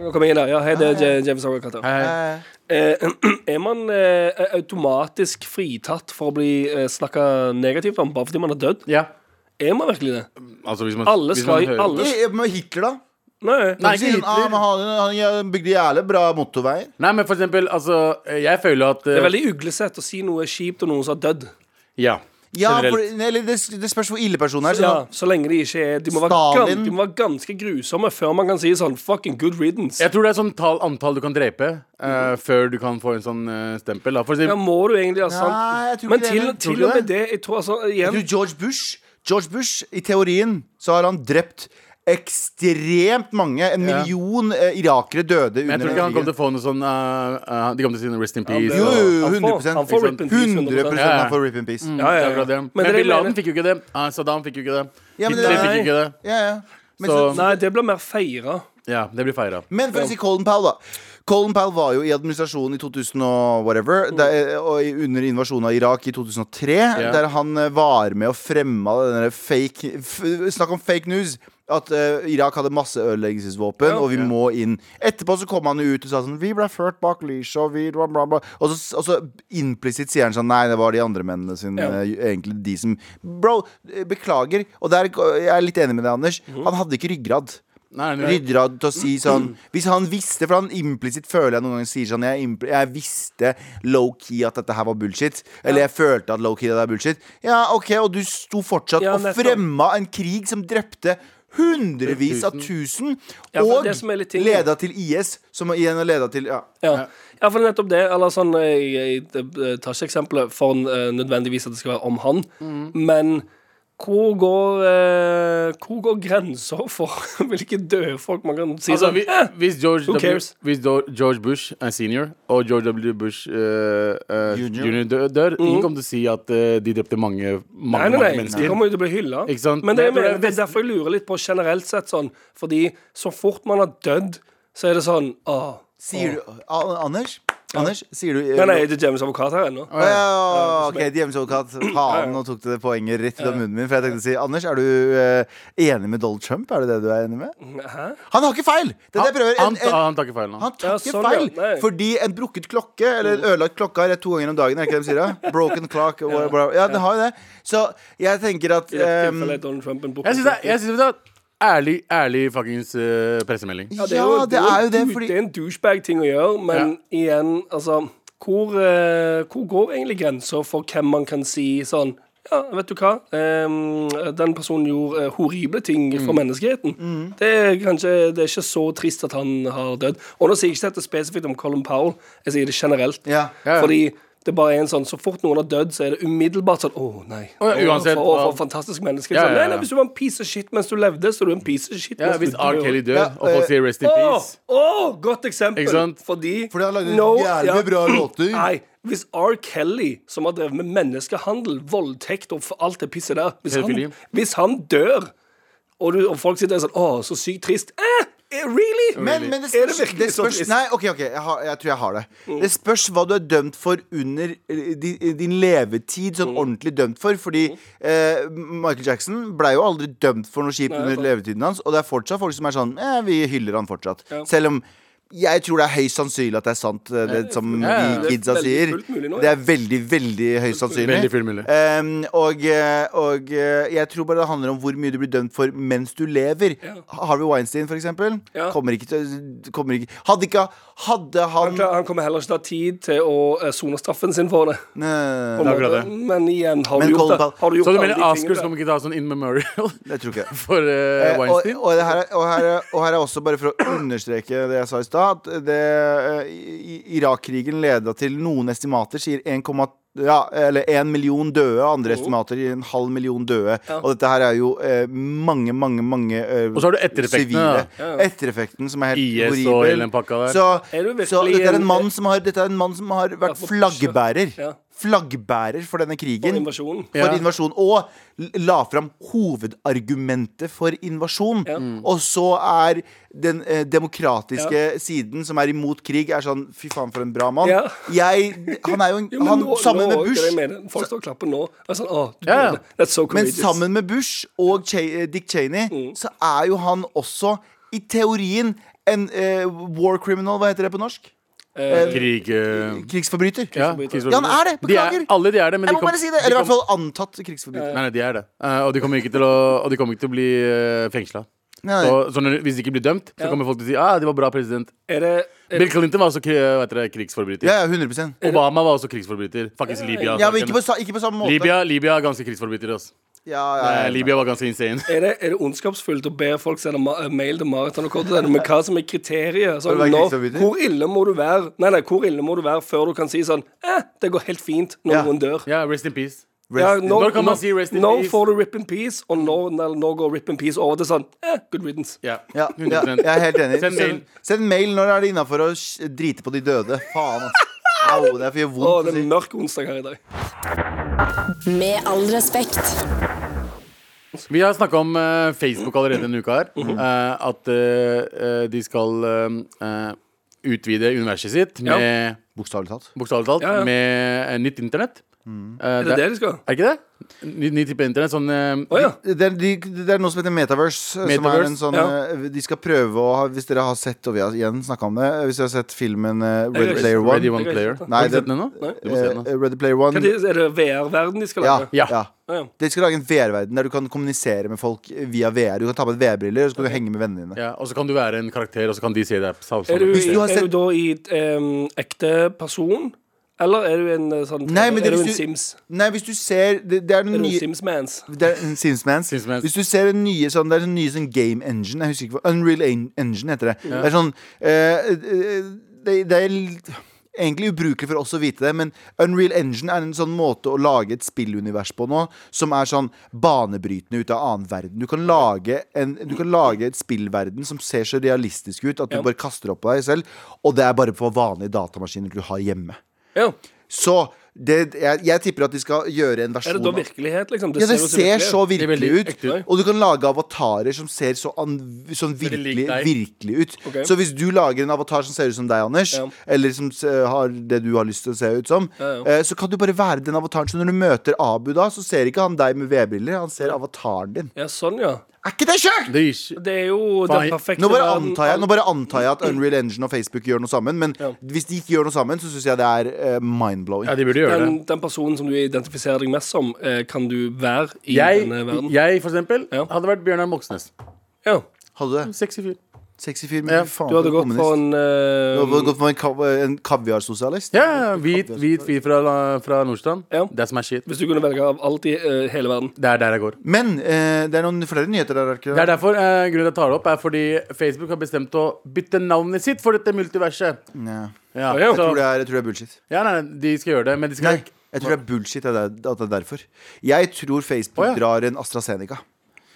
Speaker 2: Nå Kom igjen, da. Ja, hei, det er Je- James Howard-katter.
Speaker 4: Hei, hei.
Speaker 3: Eh,
Speaker 2: Eh, <clears throat> er man eh, automatisk fritatt for å bli eh, snakka negativt om bare fordi man er dødd?
Speaker 4: Ja.
Speaker 2: Er man virkelig det?
Speaker 4: Altså, hvis man,
Speaker 2: Alle
Speaker 4: hvis
Speaker 2: skal
Speaker 4: man
Speaker 2: i
Speaker 4: hører-
Speaker 2: alle
Speaker 3: eh, men Hitler, da?
Speaker 2: Nei.
Speaker 4: Nei,
Speaker 3: Sier han,
Speaker 4: ikke
Speaker 3: ah,
Speaker 4: Hitler.
Speaker 3: men han, han gjør- bygde jævlig bra motorveier.
Speaker 4: Nei, men for eksempel, altså Jeg føler at
Speaker 2: Det
Speaker 4: eh,
Speaker 2: er veldig uglesett å si noe kjipt om noen som har dødd.
Speaker 4: Ja.
Speaker 3: Ja,
Speaker 4: Generelt.
Speaker 3: for, nei, eller det, det spørs hvor ille personen er.
Speaker 2: Ja,
Speaker 3: Sånn,
Speaker 2: Altså, så lenge de ikke er De må være,
Speaker 3: Stalin.
Speaker 2: gan, de må være ganske grusomme før man kan si sånn fucking good riddance.
Speaker 4: Jeg tror det er sånn tall, antall du kan drepe eh, før du kan få en sånn eh, stempel. Da. For
Speaker 2: Ja,
Speaker 4: eksempel,
Speaker 2: må du egentlig ha sant?
Speaker 3: Nei, jeg tror ikke
Speaker 2: Men
Speaker 3: det,
Speaker 2: til,
Speaker 3: men-
Speaker 2: til
Speaker 3: tror du
Speaker 2: og med det Jeg tror altså
Speaker 3: at-
Speaker 2: igjen
Speaker 3: du, George Bush George Bush, i teorien, så har han drept ekstremt mange. En
Speaker 4: Ja.
Speaker 3: million eh, irakere døde
Speaker 4: men jeg
Speaker 3: under
Speaker 4: tror ikke han
Speaker 3: krigen.
Speaker 4: kommer til å få noe sånn eh, eh, De kommer til å si noe rest in
Speaker 2: det-
Speaker 4: peace.
Speaker 3: Jo,
Speaker 4: og-
Speaker 3: jo, jo,
Speaker 2: Han får-
Speaker 3: 100
Speaker 2: han får rip in peace,
Speaker 3: 100
Speaker 4: sånn. Ja, ja.
Speaker 3: han får rip in peace.
Speaker 2: Ja, ja,
Speaker 4: Det er
Speaker 2: ja.
Speaker 4: akkurat det.
Speaker 2: Men
Speaker 4: Men
Speaker 2: det
Speaker 4: Bin Laden
Speaker 2: mener-
Speaker 4: fikk jo ikke det. Eh, Saddam fikk jo ikke det.
Speaker 3: Ja, men det
Speaker 4: Hitler
Speaker 3: er-
Speaker 4: fikk jo ikke det.
Speaker 3: Ja, ja. Men,
Speaker 4: Så-
Speaker 3: så,
Speaker 2: Nei, det blir mer feira.
Speaker 4: Ja, det blir feira.
Speaker 3: men for å si Colin Powell, da. Colin Powell var jo i administrasjonen i 2000 og whatever, der, og i- under invasjonen av Irak i 2003,
Speaker 4: Ja.
Speaker 3: der han eh, var med og fremma den der fake f Snakk om fake news! At eh, Irak hadde masseødeleggelsesvåpen, og vi må inn. Etterpå så kom han jo ut og sa sånn Vi ble ført bak lyset, og vi bla, bla, bla. Og så, og så implisitt sier han sånn Nei, det var de andre mennene sine,
Speaker 2: Ja.
Speaker 3: eh, egentlig de som Bro, eh, beklager. Og der, jeg er litt enig med deg, Anders. Han hadde ikke ryggrad
Speaker 4: Nei, nei, nei.
Speaker 3: rydder av til å si sånn Hvis han visste, for han implisitt føler jeg noen ganger sier sånn Jeg, impl- jeg visste low-key at dette her var bullshit. Eller jeg følte at low-key det der er bullshit. Ja, OK, og du sto fortsatt
Speaker 2: Ja,
Speaker 3: og
Speaker 2: nettopp.
Speaker 3: fremma en krig som drepte hundrevis av tusen,
Speaker 2: Ja, for
Speaker 3: og
Speaker 2: det som er litt ting-
Speaker 3: leda til IS, som igjen har leda til ja.
Speaker 2: Ja. ja, for det er nettopp det. Eller sånn, jeg, jeg, eh, tar ikke eksempelet for eh, nødvendigvis at det skal være om han, men hvor går, eh, hvor går grensa for <laughs> hvilke døde folk man kan si
Speaker 4: Altså,
Speaker 2: sånn?
Speaker 4: vi, hvis, George
Speaker 2: Who
Speaker 4: w,
Speaker 2: cares?
Speaker 4: hvis Do- George Bush er senior og George W. Bush eh, eh,
Speaker 3: Junior.
Speaker 4: junior. dør, dør ingen kommer til å si at eh, de drepte mange, mange,
Speaker 2: Mhm. Nei, nei,
Speaker 4: mange
Speaker 2: nei, de
Speaker 4: mennesker.
Speaker 2: kommer jo til å bli hylla.
Speaker 4: Ikke sant?
Speaker 2: Men det, jeg
Speaker 4: Jeg tror det
Speaker 2: mener,
Speaker 4: er
Speaker 2: det er derfor jeg lurer litt på generelt sett sånn, fordi så fort man har dødd, så er det sånn Åh.
Speaker 3: Sier du A- Anders? Anders, sier du
Speaker 2: Nei, nei, det er James Avokat her ennå.
Speaker 3: Å ja, ok, Djevelens advokat. Faen, nå tok du det poenget rett ut av munnen min. For jeg tenkte å si Anders, er du eh, enig med Donald Trump? Er det det du er enig med?
Speaker 2: Hæ?
Speaker 3: Han har ikke feil! Det er det jeg prøver. En,
Speaker 4: Han,
Speaker 3: en,
Speaker 4: han tar ikke feil nå.
Speaker 3: han tar
Speaker 2: Ja,
Speaker 3: ikke
Speaker 2: sånn,
Speaker 3: feil,
Speaker 2: ja. Nei.
Speaker 3: fordi en brukket klokke, eller en ødelagt klokke, er to ganger om dagen. Er ikke det de sier? da? Broken clock. Bla, bla. Ja, den har jo det. Så jeg tenker at
Speaker 2: I dette
Speaker 3: ehm,
Speaker 2: tilfellet er Donald Trump en
Speaker 4: Jeg syns det, er- jeg synes det er ærlig, ærlig fuckings eh, pressemelding.
Speaker 3: Ja, det er jo det,
Speaker 2: en-
Speaker 3: fordi
Speaker 2: Det er en douchebag-ting å gjøre, men igjen, altså hvor, eh, hvor går egentlig grensa for hvem man kan si sånn Ja, vet du hva, Ehm, den personen gjorde eh, horrible ting
Speaker 4: Mm.
Speaker 2: for menneskeheten. Det er kanskje Det er ikke så trist at han har dødd. Og nå sier jeg ikke dette spesifikt om Colin Powell, jeg sier det generelt.
Speaker 3: Ja.
Speaker 4: ja.
Speaker 2: Fordi det bare er en sånn, Så fort noen har dødd, så er det umiddelbart sånn Å, nei.
Speaker 4: Å, ja, uansett,
Speaker 2: for, for,
Speaker 4: ja.
Speaker 2: fantastisk menneske.
Speaker 4: Ja,
Speaker 2: Sånn,
Speaker 4: ja, ja.
Speaker 2: nei, nei, hvis du var en piece of shit mens du levde, så er du en piece of shit.
Speaker 4: Ja,
Speaker 2: mens du
Speaker 4: hvis R.
Speaker 2: dør.
Speaker 4: Kelly dør,
Speaker 3: Ja,
Speaker 4: og folk
Speaker 3: eh,
Speaker 4: sier rest in
Speaker 2: Åh,
Speaker 4: peace
Speaker 2: åh, godt eksempel.
Speaker 4: Ikke sant?
Speaker 2: Fordi,
Speaker 3: Fordi han lagde
Speaker 2: No,
Speaker 3: jævlig
Speaker 2: ja.
Speaker 3: bra låter.
Speaker 2: <clears throat> Nei, hvis R. Kelly, som har drevet med menneskehandel, voldtekt og for alt det pisset der Hvis,
Speaker 4: Pedofili.
Speaker 2: han, hvis han dør, og, du, og folk sitter der sånn Åh, så sykt trist. Eh, eh, really?
Speaker 3: Men, men det
Speaker 2: Er det
Speaker 3: spørs,
Speaker 2: virkelig sånn
Speaker 3: det
Speaker 2: så
Speaker 3: spørs
Speaker 2: trist?
Speaker 3: Nei, ok, ok, jeg, har, jeg tror jeg har det. Det spørs hva du er dømt for under eh, din, din levetid,
Speaker 2: Mm.
Speaker 3: sånn ordentlig dømt for. Fordi eh, Michael Jackson blei jo aldri dømt for noe kjipt under levetiden hans, og det er fortsatt folk som er sånn eh, Vi hyller han fortsatt. Selv om jeg tror det er høyst sannsynlig at det er sant, eh, det som
Speaker 4: ja, ja.
Speaker 3: de kidsa
Speaker 2: Det er
Speaker 3: sier.
Speaker 2: veldig fullt mulig nå,
Speaker 3: Det
Speaker 2: ja.
Speaker 3: er veldig, veldig høyst sannsynlig.
Speaker 4: Veldig fullt mulig.
Speaker 3: Ehm, og, eh, og eh, jeg tror bare det handler om hvor mye du blir dømt for mens du lever. Harvey Weinstein, for eksempel.
Speaker 2: Ja.
Speaker 3: Kommer ikke til kommer ikke, Hadde ikke Hadde han,
Speaker 2: Han, klar- han kommer heller ikke til å ha tid til å eh, sone straffen sin for det.
Speaker 3: Nei,
Speaker 2: på en måte.
Speaker 4: akkurat det.
Speaker 2: Men igjen, har
Speaker 3: Men
Speaker 2: du gjort
Speaker 3: Colin
Speaker 2: det?
Speaker 3: Powell-
Speaker 2: Har du gjort
Speaker 4: Så du
Speaker 2: alle
Speaker 4: mener
Speaker 2: de
Speaker 4: Oscars
Speaker 2: tingene
Speaker 4: kommer ikke til å ha sånn in memorial
Speaker 3: jeg tror ikke det.
Speaker 4: <laughs> for eh,
Speaker 3: Eh, og,
Speaker 4: Weinstein?
Speaker 3: og, det her, er- og, her, er- og her er også, bare for å understreke det jeg sa i stad, at det, eh, i- i- Irak-krigen leda til noen estimater sier 1,2 ja, eller en million døde,
Speaker 4: Oh.
Speaker 3: andre estimater i en halv million døde. Og dette her er jo eh, mange, mange, mange eh,
Speaker 4: Og så har du ettereffektene,
Speaker 3: sivile.
Speaker 4: da.
Speaker 3: Ettereffekten som er helt
Speaker 4: IS og
Speaker 3: horribel.
Speaker 4: hele den pakka der.
Speaker 3: Så,
Speaker 2: Er du virkelig
Speaker 3: så dette, er
Speaker 2: en-
Speaker 3: en mann som har, dette er en mann som har
Speaker 2: Ja,
Speaker 3: vært
Speaker 2: for-
Speaker 3: flaggbærer.
Speaker 2: Ja.
Speaker 3: Flaggbærer for denne
Speaker 2: For
Speaker 3: krigen.
Speaker 2: invasjonen.
Speaker 3: For
Speaker 4: Ja.
Speaker 3: invasjon Og l- la fram hovedargumentet for invasjon.
Speaker 4: Mm.
Speaker 3: Og så er den eh, demokratiske siden som er imot krig, er sånn Fy faen, for en bra mann.
Speaker 2: Ja.
Speaker 3: Jeg, han er jo en
Speaker 2: <laughs> Jo, men
Speaker 3: han,
Speaker 2: nå- nå
Speaker 3: Sammen
Speaker 2: er
Speaker 3: med
Speaker 2: jo ikke det jeg
Speaker 3: Bush.
Speaker 2: mener. Folk står og klapper nå. Det er sånn, «Åh, du,
Speaker 4: Ja, ja.
Speaker 2: That's so
Speaker 3: Men
Speaker 2: courageous. Mm.
Speaker 3: sammen med Bush og Che- eh, Dick Cheney, så er jo han også, i teorien, en eh, war criminal. Hva heter det på norsk?
Speaker 2: Eh,
Speaker 4: Krig eh,
Speaker 3: Krigsforbryter.
Speaker 4: ja,
Speaker 3: Ja, han er det!
Speaker 4: De er,
Speaker 3: Beklager.
Speaker 4: alle de er det, men
Speaker 3: jeg
Speaker 4: de
Speaker 3: må
Speaker 4: kom-
Speaker 3: bare si det.
Speaker 4: de
Speaker 3: Eller i
Speaker 4: kom-
Speaker 3: hvert fall antatt krigsforbryter.
Speaker 4: Nei, nei, de er det. Eh, og de kommer ikke til å, og de kommer ikke til å bli uh, fengsla.
Speaker 3: Nei,
Speaker 4: Så,
Speaker 3: nei.
Speaker 4: så når, hvis de ikke blir dømt, så
Speaker 2: Ja.
Speaker 4: kommer folk til å si ah, de var bra president.
Speaker 2: er det er,
Speaker 4: Bill Clinton var også kri- eh, hva heter det, krigsforbryter.
Speaker 3: Ja, ja, 100
Speaker 4: Obama var også krigsforbryter. Faktisk Libya.
Speaker 3: Ja, men ikke på, sa- ikke på samme måte.
Speaker 4: Libya, Libya er ganske krigsforbryter. Altså.
Speaker 3: Ja, ja, ja.
Speaker 4: Eh, Libya var
Speaker 3: <laughs>
Speaker 4: ganske insane.
Speaker 2: er, det, er det ondskapsfullt å be folk sende ma mail til Maraton og Kodden med hva som er kriteriet? Sånn,
Speaker 3: Har du vært
Speaker 2: nå,
Speaker 3: krigsforbryter?
Speaker 2: hvor ille må du være Nei, nei, hvor ille må du være før du kan si sånn eh, Det går helt fint når
Speaker 3: Ja.
Speaker 2: noen dør.
Speaker 4: Ja, rest in peace.
Speaker 2: Ja,
Speaker 3: Rest in-
Speaker 2: når,
Speaker 4: Når kan man si rest in
Speaker 2: når
Speaker 4: peace?
Speaker 2: får du rip in peace, og når, når, når går rip in peace over til sånn eh, good riddance?
Speaker 4: Ja,
Speaker 3: Ja, ja, jeg
Speaker 4: 100%.
Speaker 3: er helt enig.
Speaker 4: Send mail.
Speaker 3: Send mail når er det innafor å sh- drite på de døde. Faen, ass. Au, det er for gjør
Speaker 2: Å,
Speaker 3: vondt
Speaker 2: det
Speaker 3: å
Speaker 2: er
Speaker 3: si.
Speaker 2: en mørk onsdag her i dag.
Speaker 1: Med all respekt.
Speaker 4: Vi har snakka om eh, Facebook allerede denne uka her.
Speaker 3: Mhm.
Speaker 4: eh, at eh, eh, de skal eh, eh, utvide universet sitt
Speaker 2: Ja.
Speaker 4: med
Speaker 3: Bokstavelig talt.
Speaker 4: Bokstavelig talt.
Speaker 2: Ja, ja.
Speaker 4: Med eh, nytt internett.
Speaker 3: Mhm.
Speaker 4: Eh,
Speaker 2: Er det det de skal?
Speaker 4: Er det ikke det? Ny, ny type internett. Sånn eh,
Speaker 2: Å ja.
Speaker 3: Det er, de, det er noe som heter Metaverse. eh,
Speaker 4: Metaverse,
Speaker 3: som er en sånn, eh, De skal prøve å ha Hvis dere har sett, og vi har igjen snakket om det eh, Hvis dere har sett filmen eh, Ready
Speaker 2: Ready
Speaker 3: Player One.
Speaker 4: Ready One
Speaker 2: det er
Speaker 4: Player.
Speaker 2: ikke sant.
Speaker 3: Nei,
Speaker 4: har du
Speaker 3: det-
Speaker 4: sett den ennå?
Speaker 2: Nei.
Speaker 4: Du må se den nå.
Speaker 3: Eh, Ready Player One
Speaker 2: Hva de- Er det VR-verden de skal
Speaker 3: ja,
Speaker 2: lage?
Speaker 3: ja.
Speaker 4: Ja.
Speaker 2: Å, ja.
Speaker 3: De skal lage en VR-verden der du kan kommunisere med folk via VR. Du kan ta på deg VR-briller og så kan du henge med vennene dine.
Speaker 4: Ja, og så kan du være en karakter, og så kan de se deg. Sam,
Speaker 2: Er du,
Speaker 3: Sånn. Hvis eh. du har
Speaker 2: er du
Speaker 3: sett-
Speaker 2: da i em, ekte person? Eller er du en eh, sånn
Speaker 3: Nei, men det
Speaker 2: Er du
Speaker 3: hvis
Speaker 2: en
Speaker 3: du-
Speaker 2: Sims?
Speaker 3: Nei, hvis du ser Det, det er
Speaker 2: Er
Speaker 3: den
Speaker 2: du en
Speaker 3: nye
Speaker 2: Sims-mans?
Speaker 3: det er, Simsmans.
Speaker 4: Simsmans.
Speaker 3: Hvis du ser den nye sånn, Det er den nye sånn game engine. Jeg husker ikke hva Unreal En- Engine heter det. Det er sånn eh, eh, det, det er litt- egentlig ubrukelig for oss å vite det, men Unreal Engine er en sånn måte å lage et spillunivers på nå som er sånn banebrytende ut av annen verden. Du kan lage, en, du kan lage et spillverden som ser så realistisk ut at du
Speaker 2: Ja.
Speaker 3: bare kaster opp på deg selv, og det er bare på vanlige datamaskiner du har hjemme.
Speaker 2: Ja.
Speaker 3: Så det, jeg, jeg tipper at de skal gjøre en
Speaker 2: Er
Speaker 3: versjon
Speaker 2: det da
Speaker 3: av-
Speaker 2: virkelighet, liksom?
Speaker 3: ja, det ser så
Speaker 4: Det er veldig
Speaker 3: virkelig ut.
Speaker 4: ekte ut.
Speaker 3: Og du kan lage avatarer som ser så an, sånn virkelig,
Speaker 4: lik deg.
Speaker 3: virkelig ut.
Speaker 2: Ok.
Speaker 3: Så hvis du lager en avatar som ser ut som deg, Anders,
Speaker 2: Ja.
Speaker 3: eller som se- har det du har lyst til å se ut som,
Speaker 2: Ja, ja.
Speaker 3: eh, så kan du bare være den avataren. Så når du møter Abu, da, så ser ikke han deg med vedbriller, han ser avataren din.
Speaker 2: Ja, sånn, ja.
Speaker 3: Er ikke det sjukt?!
Speaker 4: Det er ikke
Speaker 2: Det er jo
Speaker 4: Faen,
Speaker 2: den perfekte
Speaker 3: Nå bare,
Speaker 2: verden.
Speaker 3: antar jeg, nå bare antar jeg at Unreal Engine og Facebook gjør noe sammen, men
Speaker 2: Ja.
Speaker 3: hvis de ikke gjør noe sammen, så syns jeg det er eh, mind-blowing.
Speaker 4: Ja, de burde gjøre det.
Speaker 2: den, den personen som du identifiserer deg mest som, eh, kan du være i
Speaker 4: Jeg,
Speaker 2: denne verden?
Speaker 4: jeg for eksempel,
Speaker 2: Ja.
Speaker 4: hadde vært Bjørnar Moxnes.
Speaker 2: Ja.
Speaker 3: Hadde du det?
Speaker 4: Sexy fyr.
Speaker 3: Sexy fyr, men
Speaker 4: Ja,
Speaker 3: fy faen
Speaker 2: Du hadde
Speaker 3: for
Speaker 2: gått
Speaker 3: en
Speaker 2: for
Speaker 3: kommunist.
Speaker 2: en
Speaker 3: Du hadde
Speaker 2: eh,
Speaker 3: gått for en, kav en kaviarsosialist?
Speaker 4: Ja, ja, hvit, hvit fyr fra, fra Nordstrand.
Speaker 2: Ja.
Speaker 4: That's my shit.
Speaker 2: Hvis du kunne velge av alt i eh, hele verden.
Speaker 4: Det er der jeg går.
Speaker 3: Men eh, det er noen flere nyheter der. er det Ikke?
Speaker 4: Det er derfor eh, grunnen til at jeg tar det opp, er fordi Facebook har bestemt å bytte navnet sitt for dette multiverset.
Speaker 3: Nei.
Speaker 4: Ja,
Speaker 2: Ja, ja.
Speaker 3: Jeg, tror det
Speaker 4: så,
Speaker 3: er, jeg tror det er bullshit.
Speaker 4: ja nei, nei, de skal gjøre det, men de
Speaker 3: Nei,
Speaker 4: skal
Speaker 3: jeg tror det er bullshit at det er, at det er derfor. Jeg tror Facebook
Speaker 4: Å, ja.
Speaker 3: drar en AstraZeneca.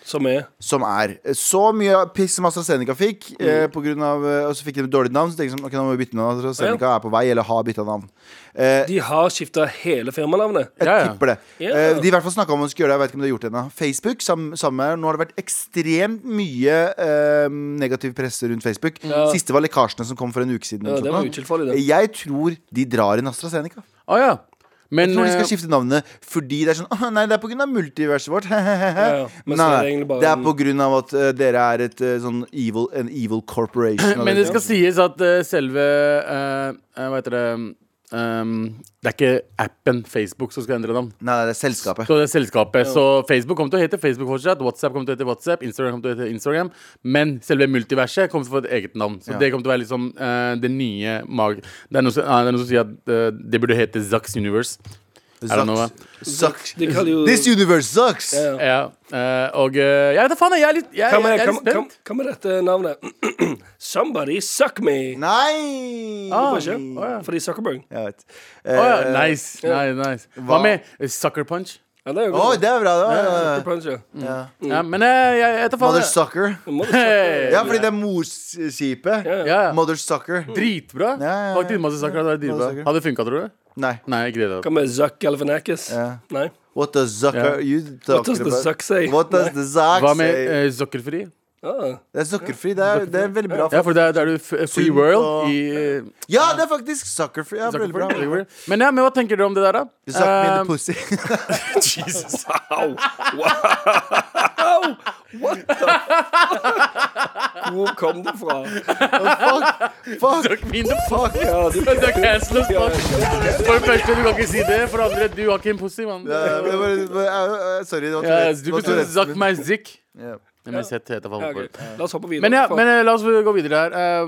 Speaker 2: Som er
Speaker 3: Som er eh, så mye piss som AstraZeneca fikk, eh, på grunn av, eh, og så fikk de et dårlig navn. Så tenkte jeg sånn, ok, nå må vi bytte navn. AstraZeneca er på vei, eller har bytta navn. Eh,
Speaker 2: De har skifta hele firmanavnet.
Speaker 3: jeg
Speaker 4: Ja, ja.
Speaker 3: tipper det.
Speaker 2: Ja.
Speaker 3: Eh, de i hvert fall snakka om å skulle gjøre det. Jeg vet ikke om de har gjort det ennå. Facebook, sam, samme her. Nå har det vært ekstremt mye eh, negativ presse rundt Facebook.
Speaker 2: Ja.
Speaker 3: Siste var lekkasjene som kom for en uke siden.
Speaker 2: Ja,
Speaker 3: eller
Speaker 2: det
Speaker 3: noe
Speaker 2: var
Speaker 3: sånt.
Speaker 2: utilfeldig, det.
Speaker 3: jeg tror de drar en AstraZeneca.
Speaker 4: Å ja. Men
Speaker 3: Jeg tror de skal
Speaker 4: eh,
Speaker 3: skifte navnet fordi det er sånn «Åh, Nei, det er på grunn av multiverset vårt. <laughs>
Speaker 2: ja. Men så er det
Speaker 3: Nei, nei,
Speaker 2: egentlig bare
Speaker 3: det er
Speaker 2: en-
Speaker 3: på grunn av at eh, dere er et eh, sånn evil, en
Speaker 2: <clears throat>
Speaker 3: evil corporation.
Speaker 4: Men det
Speaker 3: eller-
Speaker 4: skal sies at eh, selve eh, eh, Hva heter det ehm, Det er ikke appen Facebook som skal endre navn.
Speaker 3: Nei, nei, det er selskapet.
Speaker 4: Så det er selskapet. Så Facebook kommer til å hete Facebook fortsatt. WhatsApp kommer til å hete WhatsApp. Instagram kommer til å hete Instagram. Men selve multiverset kommer til å få et eget navn. Så
Speaker 3: Ja.
Speaker 4: det kommer til å være liksom eh, det nye mag... Det er noe som, ah, det er noe som sier at eh, det burde hete Zax Universe. Er det noe?
Speaker 3: Sucks.
Speaker 2: De kaller jo
Speaker 3: This universe sucks!
Speaker 2: Ja.
Speaker 4: Ja. eh, og eh, Jeg vet da faen, jeg er litt, jeg,
Speaker 2: Hva
Speaker 4: jeg
Speaker 2: med,
Speaker 4: er
Speaker 2: hva,
Speaker 4: litt
Speaker 2: hva,
Speaker 4: spent.
Speaker 2: hva med dette navnet? <clears throat> Somebody suck me!
Speaker 3: Nei!
Speaker 4: Ah,
Speaker 2: Ikke?
Speaker 4: å ja.
Speaker 2: Fordi Zuckerberg.
Speaker 3: Jeg vet.
Speaker 4: Å ja,
Speaker 3: Eh,
Speaker 4: nice, nice, nice.
Speaker 3: hva-
Speaker 4: Hva med eh, Sucker Punch?
Speaker 2: Ja, det er jo
Speaker 3: Å,
Speaker 2: godt.
Speaker 3: det er Mm. bra. Det var,
Speaker 2: Sucker punch, ja.
Speaker 3: ja.
Speaker 4: Ja, men eh, jeg jeg vet da faen.
Speaker 3: Mother
Speaker 4: jeg-
Speaker 3: sucker.
Speaker 2: Mother
Speaker 4: Hey.
Speaker 3: Ja, fordi det er morskipet.
Speaker 4: Ja, ja.
Speaker 3: Mother sucker.
Speaker 4: Dritbra.
Speaker 3: Ja, ja, ja.
Speaker 4: Faktisk masse saker hadde vært dritbra.
Speaker 3: Masse saker.
Speaker 4: Hadde funka, tror du?
Speaker 3: Nei.
Speaker 4: Nei, ikke det. da.
Speaker 2: Hva med Zuck Galvanakis?
Speaker 3: Ja.
Speaker 2: Nei.
Speaker 3: What does sucker
Speaker 4: Ja.
Speaker 3: you
Speaker 2: What
Speaker 3: talking
Speaker 2: does the
Speaker 3: about?
Speaker 2: Zuck say?
Speaker 3: What does the suck
Speaker 4: Hva med
Speaker 3: say?
Speaker 4: eh, sukkerfri?
Speaker 2: Ah.
Speaker 3: Det er sukkerfri. Det er, det er veldig bra.
Speaker 4: Ja, for der, der er du f- free
Speaker 3: Sunt og-
Speaker 4: world i eh,
Speaker 3: Ja, det er faktisk sukkerfri. Ja, veldig bra.
Speaker 4: Zuckerberg, Zuckerberg. Men, ja, men hva tenker dere om det der, da?
Speaker 3: You suck me in the
Speaker 4: Eh,
Speaker 3: pussy. <laughs>
Speaker 2: Jesus, au! Wow! What the fuck? Hvor kom det fra?
Speaker 3: Fuck!
Speaker 4: suck me in the fuck.
Speaker 3: Fuck!
Speaker 2: Ja, du,
Speaker 4: Du er castless, fuck. For det første, du kan ikke si det. For det andre, du har ikke en pussy, mann.
Speaker 3: Ja, det var, det var- eh, sorry, det var
Speaker 4: Ja,
Speaker 3: Tourettes.
Speaker 4: du
Speaker 3: Det var
Speaker 4: burde
Speaker 3: Tourettes
Speaker 4: suck
Speaker 3: min.
Speaker 4: my dick.
Speaker 3: Ja.
Speaker 4: Nei, men sett heter faen
Speaker 2: Ja,
Speaker 4: for
Speaker 2: ok.
Speaker 4: det.
Speaker 2: La oss hoppe videre.
Speaker 4: Men, ja,
Speaker 2: Fuck.
Speaker 4: men eh, la oss gå videre her. Eh,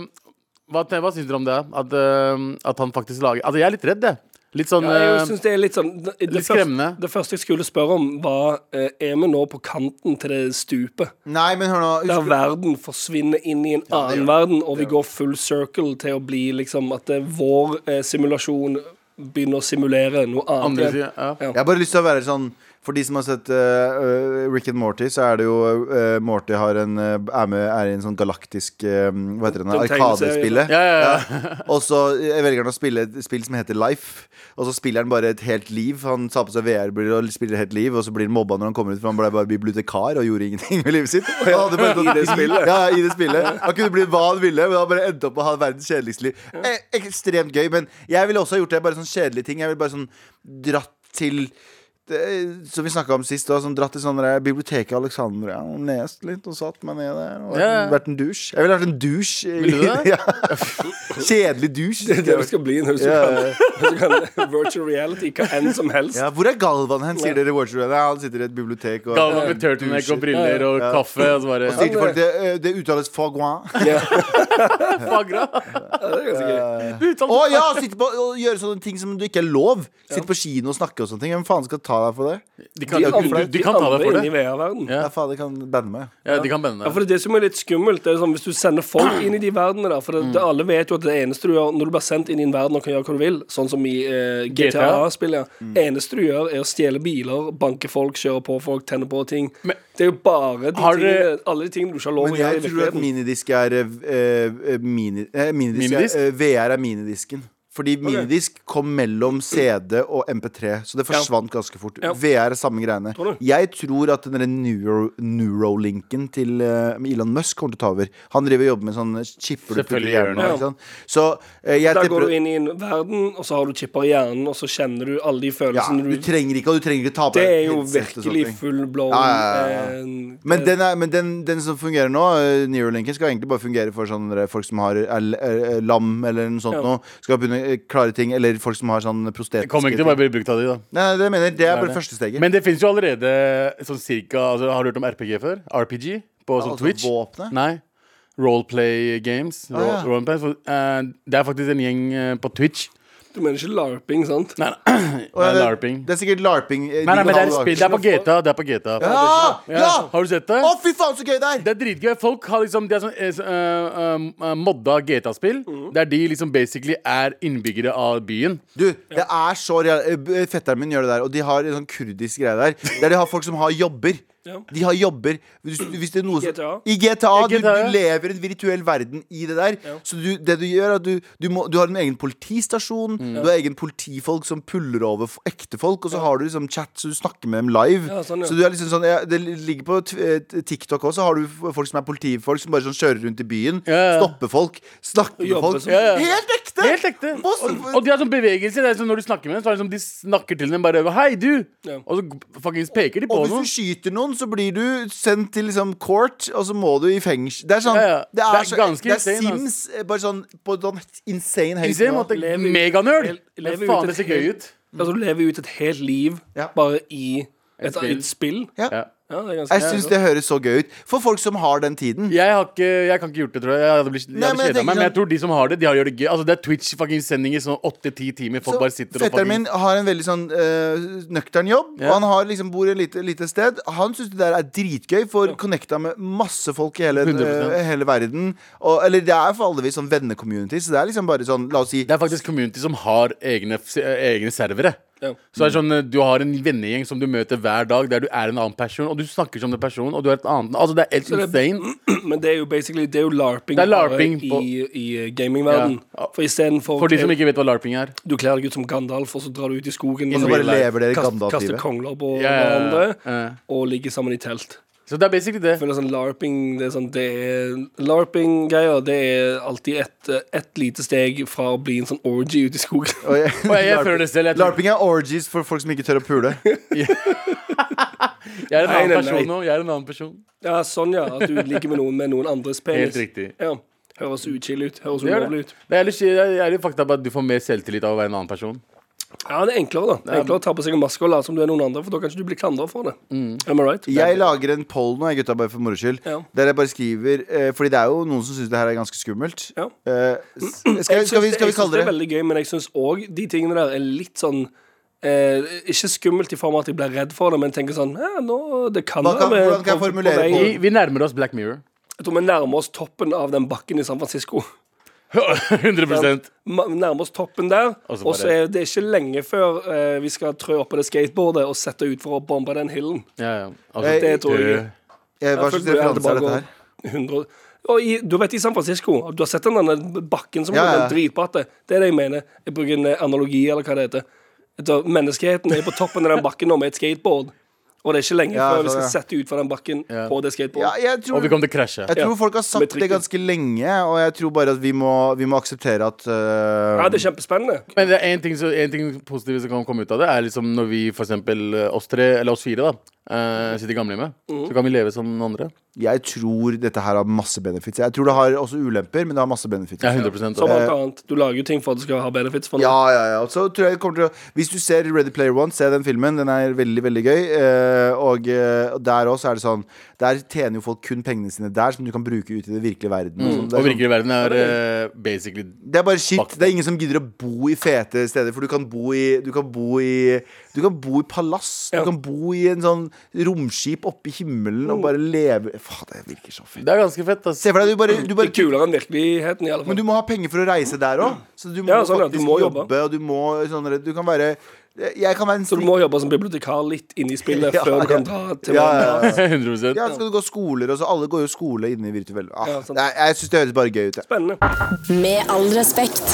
Speaker 4: hva, te- hva syns dere om det? At, eh, at han faktisk lager Altså, jeg er litt redd, jeg. Litt sånn
Speaker 2: ja,
Speaker 4: eh,
Speaker 2: jeg synes det er litt sånn det, det
Speaker 4: litt
Speaker 2: første-
Speaker 4: skremmende.
Speaker 2: Det første jeg skulle spørre om, var eh, Er vi nå på kanten til det stupet?
Speaker 3: Nei, men hør nå.
Speaker 2: Der
Speaker 3: Husker,
Speaker 2: verden forsvinner inn i en annen verden, og vi går full circle til å bli liksom At eh, vår eh, simulasjon begynner å simulere noe annet.
Speaker 4: andre
Speaker 2: igjen.
Speaker 4: siden. Ja.
Speaker 2: Ja.
Speaker 3: jeg har bare lyst til å være sånn For de som har sett eh, eh, Rick and Morty, så er det jo eh, Morty har en, eh, er, med, er i en sånn galaktisk eh, Hva heter det? nå?
Speaker 2: Den tegneserien.
Speaker 3: Arkadespillet.
Speaker 4: Sånn Ja, ja, ja.
Speaker 3: <laughs> Og så eh, velger han å spille et spill som heter Life. Og så spiller han bare et helt liv. Han tar på seg VR-briller og spiller et helt liv, og så blir han mobba når han kommer ut, for han ble bare bibliotekar og gjorde ingenting med livet sitt. Og han hadde bare tatt-
Speaker 2: I det spillet.
Speaker 3: Ja, i det spillet. Han kunne bli hva han ville, men han bare endte opp med å ha verdens kjedeligste liv. Eh, ekstremt gøy, men jeg ville også ha gjort det, bare sånn kjedelige ting. Jeg ville bare sånn dratt til det, som vi snakka om sist, da, sånn dratt til sånn der biblioteket i Alexandria og lest litt og satt meg ned der. Og vært,
Speaker 4: Ja.
Speaker 3: vært en douche. Jeg ville vært en douche. i-
Speaker 4: Ville du
Speaker 3: <laughs>
Speaker 4: det?
Speaker 3: Ja. Kjedelig douche.
Speaker 2: Det er <laughs> det det skal bli når du
Speaker 3: Ja,
Speaker 2: kan, hvis du kan virtual reality, hva enn som helst.
Speaker 3: Ja, hvor er Galvan hen, sier dere i Watcher Nei, Han sitter i et bibliotek og
Speaker 4: Gava med turtleneck og briller og kaffe. Og så bare
Speaker 3: sier til folk det, eh, det uttales fagoin. <laughs> Å
Speaker 2: Ja.
Speaker 4: Fagra!
Speaker 2: Ja, det er ganske gøy.
Speaker 3: Eh, ja! Sitte på og gjøre sånne ting som du ikke er lov. Sitte på kino og snakke og sånne ting. Hvem faen skal ta deg for det?
Speaker 4: De kan, du, du, de kan ta deg for
Speaker 2: inne i
Speaker 4: det.
Speaker 2: VR-verden.
Speaker 4: Ja.
Speaker 3: Ja, faen, det kan banne meg.
Speaker 4: Ja, de kan bende
Speaker 2: Ja, for
Speaker 4: deg.
Speaker 2: det er det som er litt skummelt. Det er sånn, hvis du sender folk inn i de verdenene der For det,
Speaker 4: Mm.
Speaker 2: det, alle vet jo at det eneste du gjør når du blir sendt inn i en verden og kan gjøre hva du vil, sånn som i eh, GTA-spillet,
Speaker 3: Mm.
Speaker 2: eneste du gjør, er å stjele biler, banke folk, kjøre på folk, tenne på ting.
Speaker 4: Men-
Speaker 2: det er jo bare de
Speaker 4: Har
Speaker 2: tingene,
Speaker 4: dere-
Speaker 2: alle de tingene du ikke har lov
Speaker 3: Men
Speaker 2: å gjøre
Speaker 3: jeg
Speaker 2: i
Speaker 3: tror at
Speaker 2: virkeligheten.
Speaker 3: minidisk er eh, eh, mini, eh, minidisk, er-
Speaker 4: Minidisk?
Speaker 3: eh, VR er minidisken. Fordi minidisk kom mellom CD og MP3, så det forsvant ganske fort.
Speaker 2: Ja.
Speaker 3: VR er samme greiene.
Speaker 2: Tror du?
Speaker 3: Jeg tror at den der neuro, neurolinken til eh, Elon Musk kommer til å ta over. Han driver og jobber med sånn chipper du putter i
Speaker 4: Selvfølgelig gjør
Speaker 3: hjernen.
Speaker 4: han
Speaker 2: det.
Speaker 3: ikke sant? Så eh, jeg
Speaker 2: Der går
Speaker 3: tipper
Speaker 2: du inn i en verden, og så har du chipper i hjernen, og så kjenner du alle de
Speaker 3: ja,
Speaker 2: følelsene
Speaker 3: du
Speaker 2: du
Speaker 3: trenger ikke, og du trenger ikke ta
Speaker 2: sånn
Speaker 3: på
Speaker 2: Det
Speaker 3: deg
Speaker 2: er jo
Speaker 3: headset og sånne
Speaker 2: virkelig
Speaker 3: ting.
Speaker 2: full blown
Speaker 3: Ja, ja, ja, ja.
Speaker 2: eh,
Speaker 3: Men, den, er, men den, den som fungerer nå, eh, Neuralinken, skal egentlig bare fungere for sånn der folk som har er, er, er lam eller noe
Speaker 2: Ja.
Speaker 3: sånt noe. Skal begynne eh, klare ting, eller folk som har sånn
Speaker 4: Det
Speaker 3: prostetiske
Speaker 4: kommer ikke
Speaker 3: ting.
Speaker 4: til å bare bli brukt av de, da.
Speaker 3: Nei, nei, det jeg mener Det er
Speaker 4: Det er
Speaker 3: bare
Speaker 4: det.
Speaker 3: første steget.
Speaker 4: Men det fins jo allerede sånn cirka altså, Har du hørt om RPG før? RPG på sånn
Speaker 3: altså,
Speaker 4: Twitch?
Speaker 3: våpenet?
Speaker 4: Nei. Roleplay games. Ro-
Speaker 3: Ah, ja.
Speaker 4: roleplay, så, eh, det er faktisk en gjeng eh, på Twitch.
Speaker 2: Du mener ikke larping, sant?
Speaker 4: Nei, nei.
Speaker 3: Og
Speaker 4: nei
Speaker 3: det,
Speaker 4: larping.
Speaker 3: det er sikkert larping. eh,
Speaker 4: Nei, nei,
Speaker 3: de
Speaker 4: men det er
Speaker 3: kan ha
Speaker 4: spill. Det er på GTA. Det er på GTA.
Speaker 3: Ja! ja!
Speaker 4: Har du sett det?
Speaker 3: Å, fy faen, så gøy det er!
Speaker 4: Det er dritgøy. Folk har liksom De er sånn eh, så- eh, eh, modda GTA-spill.
Speaker 3: Mhm.
Speaker 4: Der de liksom basically er innbyggere av byen.
Speaker 3: Du, det er så real... eh, b- Fetteren min gjør det der, og de har en sånn kurdisk greie der. Der de har folk som har jobber.
Speaker 2: Ja.
Speaker 3: De har jobber hvis, hvis det er noe som,
Speaker 2: GTA.
Speaker 3: I GTA.
Speaker 4: I GTA,
Speaker 3: du,
Speaker 4: ja.
Speaker 3: du lever en virtuell verden i det der. Så du, det du gjør, er at du, du, må, du har en egen politistasjon.
Speaker 4: Mm.
Speaker 3: Du har egen politifolk som puller over f- ekte folk, og så har du liksom chat, så du snakker med dem live.
Speaker 2: Ja, sånn, ja.
Speaker 3: Så du er liksom sånn ja, Det ligger på t- eh, TikTok også, har du f- folk som er politifolk, som bare sånn kjører rundt i byen,
Speaker 4: Ja, ja.
Speaker 3: stopper folk, snakker med
Speaker 2: Jobber
Speaker 3: folk.
Speaker 2: som-
Speaker 4: Ja, ja.
Speaker 3: Helt ekte!
Speaker 4: Helt ekte.
Speaker 3: Hva-
Speaker 4: Og de har sånn bevegelse. Det er sånn Når du snakker med dem, så er det som de snakker til dem bare Hei, du!
Speaker 2: Ja.
Speaker 4: Og så fuckings peker de på
Speaker 3: Og hvis
Speaker 4: noe.
Speaker 3: du skyter noen, så blir du sendt til liksom court, og så må du i fengsel. Det er sånn
Speaker 4: Ja, ja.
Speaker 3: Det
Speaker 4: Det
Speaker 3: er,
Speaker 4: er
Speaker 3: så,
Speaker 4: ganske
Speaker 3: det er
Speaker 4: insane, ass.
Speaker 3: Sims, eh, bare sånn på sånn insane høyt
Speaker 4: Insane
Speaker 3: nivå.
Speaker 4: måte.
Speaker 2: Lever-
Speaker 4: Meganerd.
Speaker 2: le-
Speaker 4: Men
Speaker 2: lever ut
Speaker 4: faen,
Speaker 2: et
Speaker 4: det ser gøy
Speaker 2: helt-
Speaker 4: ut.
Speaker 2: Altså, du lever ut et helt liv
Speaker 3: Ja.
Speaker 2: bare i et,
Speaker 4: spill.
Speaker 2: et spill.
Speaker 3: Ja.
Speaker 4: Ja.
Speaker 2: Ja, det er ganske
Speaker 3: Jeg syns det høres så gøy ut for folk som har den tiden.
Speaker 4: Jeg, har ikke, jeg kan ikke gjort det, tror jeg. Jeg hadde, blitt, jeg
Speaker 3: Nei, men jeg
Speaker 4: hadde kjedet
Speaker 3: tenker
Speaker 4: meg. Men jeg
Speaker 3: sånn-
Speaker 4: tror de som har det, de har gjør det gøy. Altså, det er Twitch-sendinger sånn åtte-ti timer. Folk
Speaker 3: Så
Speaker 4: bare sitter og
Speaker 3: Fetteren min har en veldig sånn eh, nøktern jobb,
Speaker 4: Ja.
Speaker 3: og han har liksom bor i et lite, lite sted. Han syns det der er dritgøy, for connecta med masse folk i hele,
Speaker 4: 100%.
Speaker 3: eh, hele verden. Og, eller det er for alle vi sånn vennecommunity, så det er liksom bare sånn, la oss si
Speaker 4: Det er faktisk community som har egne, f- eh, egne servere.
Speaker 2: Ja. <clears throat>
Speaker 4: Så det er sånn, Du har en vennegjeng som du møter hver dag, der du er en annen person, og du snakker som den personen, og du er et annet Altså, det er helt
Speaker 2: det-
Speaker 4: insane.
Speaker 2: Men det er jo basically Det er jo larping,
Speaker 4: Det er larping
Speaker 2: bare
Speaker 4: på-
Speaker 2: i, i eh, gamingverden
Speaker 4: Ja.
Speaker 2: For istedenfor
Speaker 4: For de som ikke vet hva larping er.
Speaker 2: Du kler deg ut som Gandalf, og så drar du ut i skogen
Speaker 3: Så
Speaker 4: In
Speaker 3: bare
Speaker 4: real life.
Speaker 3: lever dere i
Speaker 2: kaster, kaster
Speaker 3: Gandalf-livet.
Speaker 2: kongler på
Speaker 4: Ja, ja, ja.
Speaker 2: hverandre
Speaker 4: Ja.
Speaker 2: og ligger sammen i telt.
Speaker 4: Så det er basically det.
Speaker 2: Jeg føler sånn larping Det er sånn Det er larping-greier. Det er alltid ett et lite steg fra å bli en sånn orgy ute i skogen. <laughs>
Speaker 3: Og jeg-
Speaker 4: Og jeg, jeg føler det selv. Jeg,
Speaker 3: <laughs>
Speaker 4: tror,
Speaker 3: Larping er orgies for folk som ikke tør å pule.
Speaker 4: jeg er en
Speaker 2: Nei,
Speaker 4: annen
Speaker 2: nei,
Speaker 4: person
Speaker 2: nei.
Speaker 4: nå. Jeg er en annen person.
Speaker 2: Ja, sånn, ja. At du ligger med noen med noen andres penis.
Speaker 4: Helt riktig.
Speaker 2: Ja. Høres uchill ut. Høres
Speaker 4: Det gjør
Speaker 2: ulovlig
Speaker 4: det.
Speaker 2: ut.
Speaker 4: Det er litt, jeg er litt fakta på at du får mer selvtillit av å være en annen person.
Speaker 2: Ja, det er enklere, da. Det er enklere å ta på seg en maske og late som du er noen andre, for da kan ikke du bli klandra for det.
Speaker 4: Mm.
Speaker 2: Am I right?
Speaker 3: Jeg lager en poll nå, jeg, gutta, bare for moro skyld.
Speaker 2: Ja.
Speaker 3: Der jeg bare skriver eh, Fordi det er jo noen som syns det her er ganske skummelt.
Speaker 2: Ja.
Speaker 3: Eh, s-
Speaker 2: Jeg
Speaker 3: skal, skal, vi,
Speaker 2: syns det-
Speaker 3: skal vi
Speaker 2: Jeg syns det
Speaker 3: kalle
Speaker 2: er
Speaker 3: det
Speaker 2: veldig gøy, men jeg syns òg de tingene der er litt sånn Eh, ikke skummelt i form av at jeg blir redd for det, men tenker sånn ja, nå, det kan
Speaker 3: Hva
Speaker 2: være
Speaker 3: kan-
Speaker 2: med
Speaker 3: hvordan kan jeg formulere
Speaker 2: vei-
Speaker 4: Vi, vi nærmer oss Black Mirror. <laughs>
Speaker 2: Jeg tror vi nærmer oss toppen av den bakken i San Francisco.
Speaker 4: 100
Speaker 2: Ma- Nærmer oss toppen der,
Speaker 4: Og så
Speaker 2: og så
Speaker 4: bare-
Speaker 2: er det ikke lenge før eh, vi skal trø opp på det skateboardet og sette ut for å bombe den hillen.
Speaker 4: ja, ja. Altså,
Speaker 3: Jeg-
Speaker 2: Det tror jeg.
Speaker 4: død.
Speaker 3: eh, Hva
Speaker 2: Jeg
Speaker 3: slags
Speaker 2: føler at
Speaker 3: referanse er
Speaker 2: bare
Speaker 3: dette
Speaker 2: går
Speaker 3: her?
Speaker 2: 100 og i, du vet i San Francisco, du har sett den denne bakken som
Speaker 3: Ja,
Speaker 2: går med
Speaker 3: ja.
Speaker 2: dritbratte. Det er det jeg mener. Jeg bruker en eh, analogi, eller hva det heter. Så menneskeheten er på toppen av den bakken nå med et skateboard. Og det er ikke lenge
Speaker 3: Ja,
Speaker 2: før vi
Speaker 3: sånn,
Speaker 2: skal
Speaker 3: ja.
Speaker 2: sette ut fra den bakken
Speaker 4: Ja.
Speaker 2: på det
Speaker 3: Ja,
Speaker 2: skateboardet.
Speaker 3: jeg
Speaker 4: Eh, Og
Speaker 3: tror
Speaker 4: vi kommer til å krasje.
Speaker 3: Jeg tror
Speaker 2: Ja.
Speaker 3: folk har
Speaker 2: Med
Speaker 3: sagt det
Speaker 2: trikken.
Speaker 3: ganske lenge, og jeg tror bare at vi må, vi må akseptere at eh,
Speaker 2: Ja, det er kjempespennende.
Speaker 4: Men det er en ting, så, en ting positivt som kan komme ut av det, er liksom når vi for eksempel eh, oss tre, eller oss fire, da, eh, sitter i gamlehjemmet,
Speaker 3: Mm.
Speaker 4: så kan vi leve som noen andre.
Speaker 3: Jeg tror dette her har masse benefits. Jeg tror det har også ulemper, men det har masse benefits.
Speaker 4: Ja, 100
Speaker 2: Som alt annet. Du lager jo ting for at du skal ha benefits. For noe.
Speaker 3: Ja, ja, ja. Og Så tror jeg det kommer til å Hvis du ser Ready Player One, se den filmen. Den er veldig, veldig gøy. Eh, og eh, der også er det sånn Der tjener jo folk kun pengene sine der, som du kan bruke ute i den virkelige verden.
Speaker 2: Mm.
Speaker 3: og sånn. Det,
Speaker 4: Og
Speaker 3: er sånn,
Speaker 4: virkelig verden er eh, basically
Speaker 3: det er bare shit. Det er ingen som gidder å bo i fete steder, for du kan bo i Du kan bo i, du kan bo i palass.
Speaker 2: Ja. Mm.
Speaker 3: Du kan bo i en sånn romskip oppe i himmelen og bare leve Faen, det virker så fett.
Speaker 4: Det er ganske fett, ass.
Speaker 3: Se for deg, du bare, du
Speaker 2: Det
Speaker 3: bare
Speaker 2: er kulere enn virkeligheten, i alle
Speaker 3: Men
Speaker 2: fall.
Speaker 3: du må ha penger for å reise der òg. Så du må
Speaker 2: Ja, sånn, ja. Du
Speaker 3: faktisk
Speaker 2: må
Speaker 3: jobbe,
Speaker 2: jobbe.
Speaker 3: og du må sånn Du kan være Jeg kan være en
Speaker 2: Så du
Speaker 3: slik-
Speaker 2: må jobbe som bibliotekar litt inn i spillet
Speaker 3: <laughs> Ja,
Speaker 2: før du
Speaker 3: ja.
Speaker 2: kan dra til
Speaker 3: Ja,
Speaker 2: hverandre.
Speaker 3: ja,
Speaker 2: <laughs>
Speaker 3: ja.
Speaker 4: 100
Speaker 3: ja, så skal du gå skoler, og så alle går jo skole inne i virtuell ah,
Speaker 2: Ja, sant.
Speaker 3: nei, Jeg syns det høres bare gøy ut. jeg.
Speaker 2: Spennende.
Speaker 1: Med all respekt.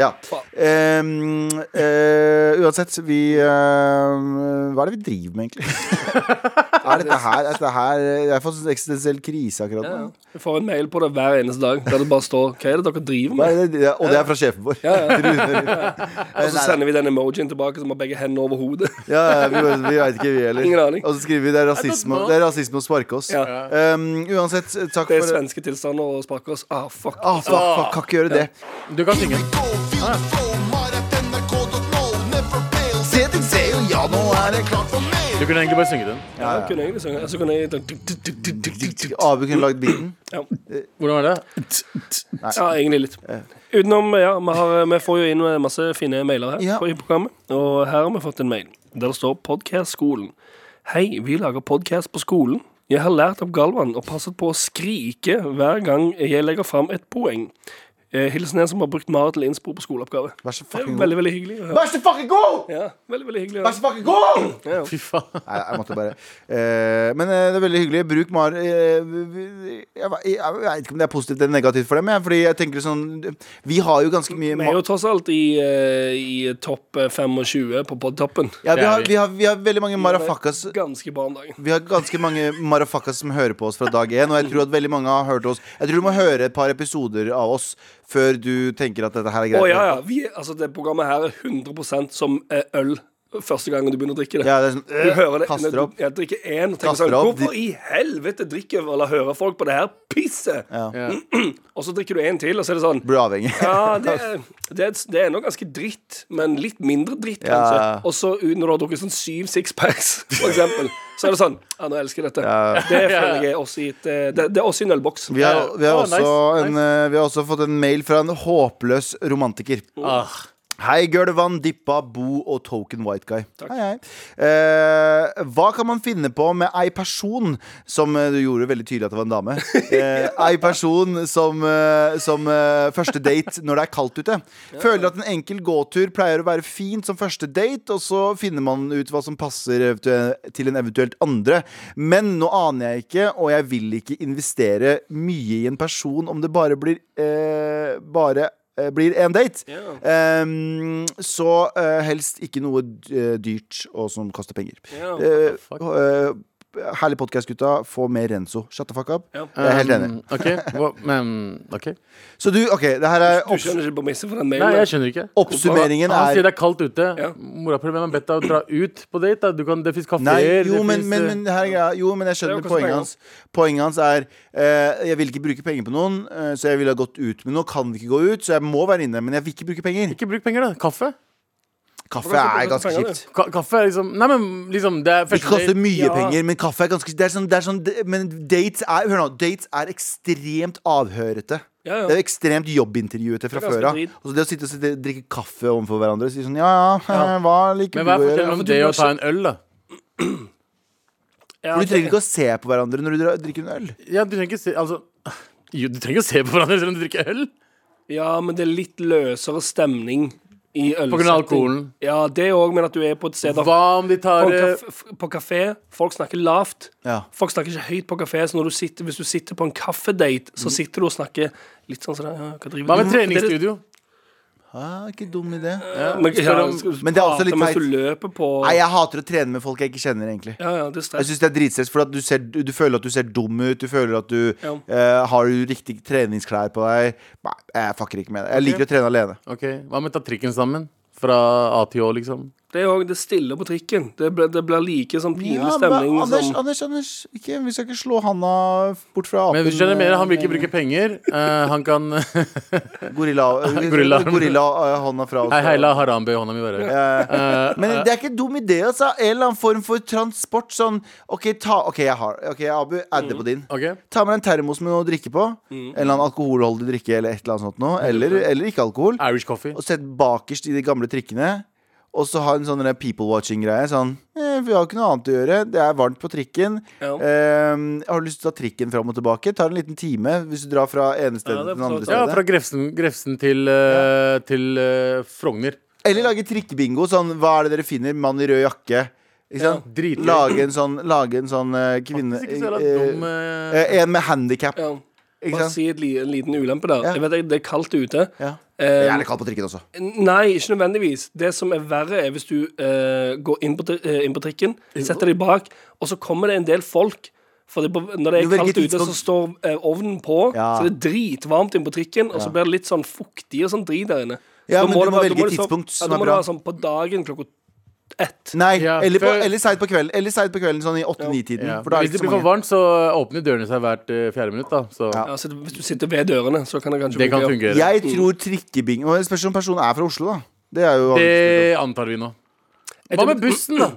Speaker 3: Ja. Ehm, eh, uansett, vi ehm, Hva er det vi driver
Speaker 2: <laughs>
Speaker 3: med, egentlig? er dette her, er dette her Jeg har fått en eksistensiell krise akkurat nå.
Speaker 2: Du får en mail på det hver eneste dag der det bare står Hva er det dere driver
Speaker 3: Hva
Speaker 2: med?
Speaker 3: er det, og det er fra sjefen vår. Rune.
Speaker 2: Og så sender vi den emojien tilbake som har begge hendene over
Speaker 3: <laughs>
Speaker 2: hodet.
Speaker 3: Ja, ja, vi, bare- vi veit ikke, vi heller.
Speaker 2: Ingen aning.
Speaker 3: Og så skriver vi det er rasisme,
Speaker 4: know.
Speaker 3: det er rasisme å sparke oss.
Speaker 2: Ja.
Speaker 3: Ehm, uansett, takk
Speaker 2: Det er
Speaker 3: for
Speaker 2: svenske tilstander og sparker oss. Ah, fuck.
Speaker 3: Ah, fuck, fuck, kan ikke gjøre det.
Speaker 4: Du kan synge.
Speaker 3: Se til se, jo, ja, nå er det klart.
Speaker 4: Du kunne egentlig bare synge den.
Speaker 2: Ja, jeg kunne egentlig synge. Så kunne jeg sånn Ja,
Speaker 3: Abu kunne lagd beaten.
Speaker 4: Hvordan var det?
Speaker 2: egentlig litt. Utenom, ja, vi, har, vi får jo inn eh, masse fine mailer her
Speaker 3: Ja.
Speaker 2: på, i programmet. Og her har vi fått en mail der det står 'Podkast-skolen'. Hei, vi lager podkast på skolen. Jeg har lært opp Galvan og passet på å skrike hver gang jeg legger fram et poeng. Eh, Hilsen en som har brukt Mara til innspor på skoleoppgave.
Speaker 3: Vær så
Speaker 2: Det er
Speaker 3: fucking god.
Speaker 2: Veldig, veldig hyggelig. å høre.
Speaker 3: Vær så fucking god!
Speaker 2: Ja, veldig, veldig hyggelig. å
Speaker 3: Vær
Speaker 2: høre.
Speaker 3: så fucking god!
Speaker 4: Fy faen.
Speaker 3: Nei, jeg måtte bare eh, Men eh, det er veldig hyggelig. Bruk Mar eh, vi- vi- Jeg, jeg, jeg vet ikke om det er positivt eller negativt for dem. jeg, Fordi jeg tenker sånn Vi har jo ganske mye
Speaker 2: Vi er jo tross alt i, eh, i topp eh, 25 på podtoppen.
Speaker 3: ja, vi,
Speaker 4: Det er
Speaker 3: har,
Speaker 4: vi.
Speaker 3: vi, har, vi har veldig mange marafakas
Speaker 2: Ganske bra om dagen.
Speaker 3: Vi har ganske mange marafakas som hører på oss fra dag én. Og jeg tror at veldig mange har hørt oss Jeg tror du må høre et par episoder av oss før du tenker at dette her er
Speaker 2: Å
Speaker 3: greit.
Speaker 2: ja, ja. Vi, altså, det programmet her er 100 som eh, øl. første gangen du begynner å drikke det.
Speaker 3: Ja, det er sånn,
Speaker 2: Du hører det
Speaker 3: Kaster
Speaker 2: når
Speaker 3: opp.
Speaker 2: du- Jeg drikker én og tenker
Speaker 3: Kaster
Speaker 2: sånn
Speaker 3: opp.
Speaker 2: Hvorfor i helvete drikker eller hører folk på det her pisset?
Speaker 3: Ja.
Speaker 2: Og så drikker du en til, og så er det sånn
Speaker 3: Blir avhengig.
Speaker 2: Ja, det er, det, er, det er nok ganske dritt, men litt mindre dritt,
Speaker 3: Ja.
Speaker 2: kanskje. Og så ut- når du har drukket sånn syv sixpacks, for eksempel, så er det sånn Ja, nå elsker jeg dette. Det føler jeg er oss i et eh, Det, det er oss i en ølboks.
Speaker 3: Vi har, vi, har
Speaker 4: Ah,
Speaker 3: også
Speaker 4: nice,
Speaker 3: en, eh, vi har også fått en mail fra en håpløs romantiker.
Speaker 4: Ah,
Speaker 3: Hei, Gølvan, Dippa, Bo og Token White Guy. Hei, hei. Eh, hva kan man finne på med ei person som eh, Du gjorde veldig tydelig at det var en dame. Eh, ei person som, eh, som eh, første date når det er kaldt ute. Føler at en enkel gåtur pleier å være fint som første date, og så finner man ut hva som passer eventu- til en eventuelt andre. Men nå aner jeg ikke, og jeg vil ikke investere mye i en person om det bare blir eh, Bare eh, blir en date.
Speaker 2: Ja.
Speaker 3: Ehm, så eh, helst ikke noe d- eh, dyrt og som koster penger.
Speaker 2: Ja.
Speaker 3: Eh,
Speaker 4: fuck?
Speaker 3: eh, herlig podkast, gutta. Få mer Renzo. Shut the fuck up.
Speaker 2: Ja.
Speaker 3: Jeg er helt enig.
Speaker 4: um, OK. Hva, men OK.
Speaker 3: Så du, OK, det her er
Speaker 2: Du
Speaker 3: opps
Speaker 2: skjønner ikke premisset for den
Speaker 4: Nei,
Speaker 2: mailen?
Speaker 4: jeg skjønner ikke.
Speaker 3: oppsummeringen
Speaker 4: Han sier
Speaker 3: er
Speaker 4: det er kaldt ute.
Speaker 2: Ja.
Speaker 4: Morapuler, hvem har bedt deg å dra ut på date? Da? Du kan, det eh, fins
Speaker 3: Nei,
Speaker 4: kafeer
Speaker 3: jo men, men, men, her, er greia. jo, men jeg
Speaker 2: Det
Speaker 3: skjønner
Speaker 2: er jo
Speaker 3: poenget
Speaker 2: kanskje
Speaker 3: hans. Poenget hans er eh, Jeg vil ikke bruke penger på noen, eh, så jeg ville ha gått ut. Men nå kan vi ikke gå ut, så jeg må være inne. Men jeg vil ikke bruke penger.
Speaker 4: Ikke bruk penger, da. Kaffe.
Speaker 3: Kaffe
Speaker 2: Hvorfor skal
Speaker 3: er
Speaker 2: du bruke
Speaker 3: ganske
Speaker 2: penger,
Speaker 3: kjipt.
Speaker 4: Ka kaffe er liksom Nei, men liksom det er
Speaker 3: Det
Speaker 4: første
Speaker 3: koster
Speaker 4: date.
Speaker 3: mye
Speaker 2: Ja.
Speaker 3: penger, men kaffe er ganske det er sånn, det er sånn, det, Men dates er Hør nå, dates er ekstremt avhørete.
Speaker 2: Ja, ja.
Speaker 3: Det er ekstremt jobbintervjuete fra
Speaker 2: Det er ganske
Speaker 3: før av.
Speaker 2: drit.
Speaker 3: Og så Det å sitte og sitte, drikke kaffe overfor hverandre og si sånn Ja, ja, <laughs> hva liker
Speaker 4: Men
Speaker 3: du
Speaker 4: hva
Speaker 3: å gjøre?
Speaker 4: er
Speaker 2: for
Speaker 3: Altså,
Speaker 4: forskjellen mellom
Speaker 2: du
Speaker 4: det
Speaker 2: må
Speaker 4: og å ta en øl, da?
Speaker 2: Ja,
Speaker 3: For Du trenger
Speaker 2: det-
Speaker 3: ikke å se på hverandre når du dra- drikker en øl.
Speaker 4: Ja, du trenger ikke se Altså jo, du trenger ikke å se på hverandre selv om du drikker øl.
Speaker 2: ja, men det er litt løsere stemning i ølsetting.
Speaker 4: grunn av alkoholen.
Speaker 2: Ja, det òg, men at du er på et sted der-
Speaker 4: Hva om de tar
Speaker 2: på, en
Speaker 4: eh,
Speaker 2: kaf- f- på kafé, folk snakker lavt.
Speaker 3: Ja.
Speaker 2: Folk snakker ikke høyt på kafé, så når du sitter, hvis du sitter på en kaffedate, så sitter du og snakker litt sånn sånn ja, Hva driver
Speaker 4: Hva
Speaker 2: du
Speaker 4: med treningsstudio?
Speaker 3: Ah, ikke dum idé.
Speaker 2: Ja, men, ja,
Speaker 4: Spør om-
Speaker 2: skal du
Speaker 3: Men det er også
Speaker 2: prate
Speaker 3: litt
Speaker 2: mens
Speaker 3: teit.
Speaker 2: du løper på
Speaker 3: Nei, jeg hater å trene med folk jeg ikke kjenner, egentlig.
Speaker 2: Ja, ja, det er
Speaker 3: Jeg
Speaker 2: stress.
Speaker 3: synes det er dritstress, for at du, ser, du, du føler at du ser dum ut. Du føler at du
Speaker 2: Ja.
Speaker 3: eh, har du riktig treningsklær på deg. Nei, jeg fucker ikke med det. Jeg liker å trene alene.
Speaker 4: Ok, Hva med å ta trikken sammen? Fra A til Å, liksom.
Speaker 2: Det er jo det stille på trikken. Det blir, det blir like sånn pinlig
Speaker 3: Ja, men
Speaker 2: stemning
Speaker 3: Anders, altså-
Speaker 2: som
Speaker 3: Anders, Anders ikke, vi skal ikke slå Hanna bort fra apen.
Speaker 4: Men hvis du skjønner mer, han vil ikke bruke penger. Eh, han
Speaker 3: <laughs>
Speaker 4: kan Hei,
Speaker 3: eh, Gorilla,
Speaker 4: <laughs>
Speaker 3: gorilla.
Speaker 4: Gorilla.
Speaker 3: eh, hånda fra oss.
Speaker 4: hei, la Harambe i hånda mi være.
Speaker 3: Eh,
Speaker 4: Eh,
Speaker 3: <laughs> men det er ikke en dum idé, altså. En eller annen form for transport. Sånn OK, ta, ok, jeg har Ok, Abu, add
Speaker 4: Mm.
Speaker 3: det på din.
Speaker 4: ok.
Speaker 3: Ta med en termos med noe å drikke på.
Speaker 4: Mm.
Speaker 3: En eller annen alkoholholdig drikke eller et eller annet sånt noe. Eller, eller ikke alkohol.
Speaker 4: Irish coffee.
Speaker 3: Og sett bakerst i de gamle trikkene. Og så ha en sånn der people watching-greie. Sånn eh, Vi har ikke noe annet å gjøre. Det er varmt på trikken.
Speaker 2: Ja.
Speaker 3: Eh, har du lyst til å ta trikken fram og tilbake? Tar en liten time hvis du drar fra ene stedet
Speaker 2: Ja, det er
Speaker 3: til det
Speaker 2: for
Speaker 3: andre
Speaker 2: så vidt-
Speaker 3: stedet.
Speaker 4: Ja, fra Grefsen, Grefsen til, eh, til eh, Frogner.
Speaker 3: Eller lage trikkebingo. Sånn, hva er det dere finner? Mann i rød jakke. Ikke sant?
Speaker 4: Dritgøy.
Speaker 3: Lage en sånn, lage en sånn eh, kvinne
Speaker 4: Faktisk ikke så jævla
Speaker 3: eh,
Speaker 4: dum, eh,
Speaker 3: eh, En med handikap.
Speaker 2: ja.
Speaker 3: Ikke
Speaker 2: Bare
Speaker 3: sant?
Speaker 2: si et li, en liten ulempe der.
Speaker 3: Ja.
Speaker 2: Jeg vet, det er kaldt ute.
Speaker 3: Ja.
Speaker 2: Eh,
Speaker 3: Jeg er litt kald på trikken også.
Speaker 2: Nei, ikke nødvendigvis. Det som er verre, er hvis du eh, går inn på, tri- eh, inn på trikken, setter deg bak, og så kommer det en del folk. For det, er på- når det
Speaker 3: Du
Speaker 2: er
Speaker 3: velger
Speaker 2: kaldt ute,
Speaker 3: tidspunkt.
Speaker 2: så står eh, ovnen på,
Speaker 3: sånn- Ja.
Speaker 2: så det er dritvarmt inn på trikken, og så blir det litt sånn fuktig og sånn drit der inne.
Speaker 3: Ja,
Speaker 2: Da
Speaker 3: men du
Speaker 2: det
Speaker 3: må
Speaker 2: være-
Speaker 3: velge
Speaker 2: da det
Speaker 3: tidspunkt
Speaker 2: Så,
Speaker 3: som
Speaker 2: ja, da
Speaker 3: er
Speaker 2: må det
Speaker 3: bra.
Speaker 2: være sånn på dagen klokka ett.
Speaker 3: Nei,
Speaker 4: Ja,
Speaker 3: eller, på-
Speaker 4: før-
Speaker 3: eller seint på kvelden. Eller seint på kvelden, sånn i åtte-ni-tiden.
Speaker 4: ja.
Speaker 3: For da er
Speaker 4: Hvis
Speaker 3: det
Speaker 4: det
Speaker 3: ikke
Speaker 4: blir
Speaker 3: så
Speaker 4: for
Speaker 3: mange.
Speaker 4: varmt, så åpner dørene seg hvert eh, fjerde minutt. da Så
Speaker 3: Ja.
Speaker 2: Ja, så hvis du sitter ved dørene, så kan det kanskje
Speaker 4: det kan
Speaker 2: fungere.
Speaker 4: fungere.
Speaker 3: Jeg tror trikkebingo Og Spørs om personen er fra Oslo, da. Det er jo
Speaker 4: Det antar vi nå. Hva med bussen, da?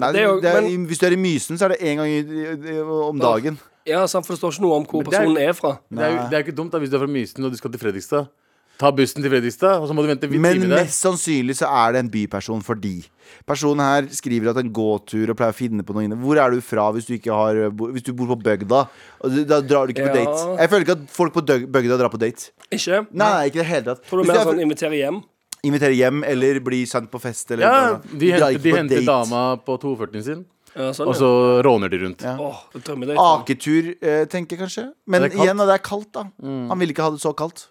Speaker 3: Nei,
Speaker 2: det er jo-
Speaker 3: det er,
Speaker 2: men-
Speaker 3: Hvis du er i Mysen, så er det én gang i, i, i, om dagen.
Speaker 2: Ja, sant, for det står ikke noe om hvor
Speaker 4: det er-
Speaker 2: personen er fra.
Speaker 4: Det er, jo, det er jo ikke dumt da hvis du er fra Mysen og du skal til Fredrikstad. Ta bussen til Fredrikstad, og så må du vente en
Speaker 3: Men
Speaker 4: time der.
Speaker 3: mest sannsynlig så er det en byperson fordi Personen her skriver at en gåtur og pleier å finne på noe inne. Hvor er du fra hvis du, ikke har, hvis du bor på bygda? Og du- Da drar du ikke på
Speaker 2: Ja.
Speaker 3: date. Jeg føler ikke at folk på døg- bygda drar på date.
Speaker 2: Ikke?
Speaker 3: Nei, nei ikke i det hele tatt.
Speaker 2: Tror
Speaker 3: Hvis
Speaker 2: du
Speaker 3: du
Speaker 2: mer
Speaker 3: er
Speaker 2: sånn
Speaker 3: fra-
Speaker 2: inviterer hjem?
Speaker 3: inviterer hjem eller blir sendt på fest eller
Speaker 4: Ja,
Speaker 3: noe.
Speaker 4: De
Speaker 3: drar
Speaker 4: henter,
Speaker 3: ikke
Speaker 4: de
Speaker 3: på
Speaker 4: henter
Speaker 3: date.
Speaker 4: dama på 240-en sin,
Speaker 2: Ja, sånn,
Speaker 4: og så råner de rundt.
Speaker 2: ja. Åh, det drømmer deg.
Speaker 3: Aketur, eh, tenker jeg kanskje. Men
Speaker 4: sånn- Det er kaldt. Mm.
Speaker 3: igjen, det er kaldt, da. Han ville ikke ha det så kaldt.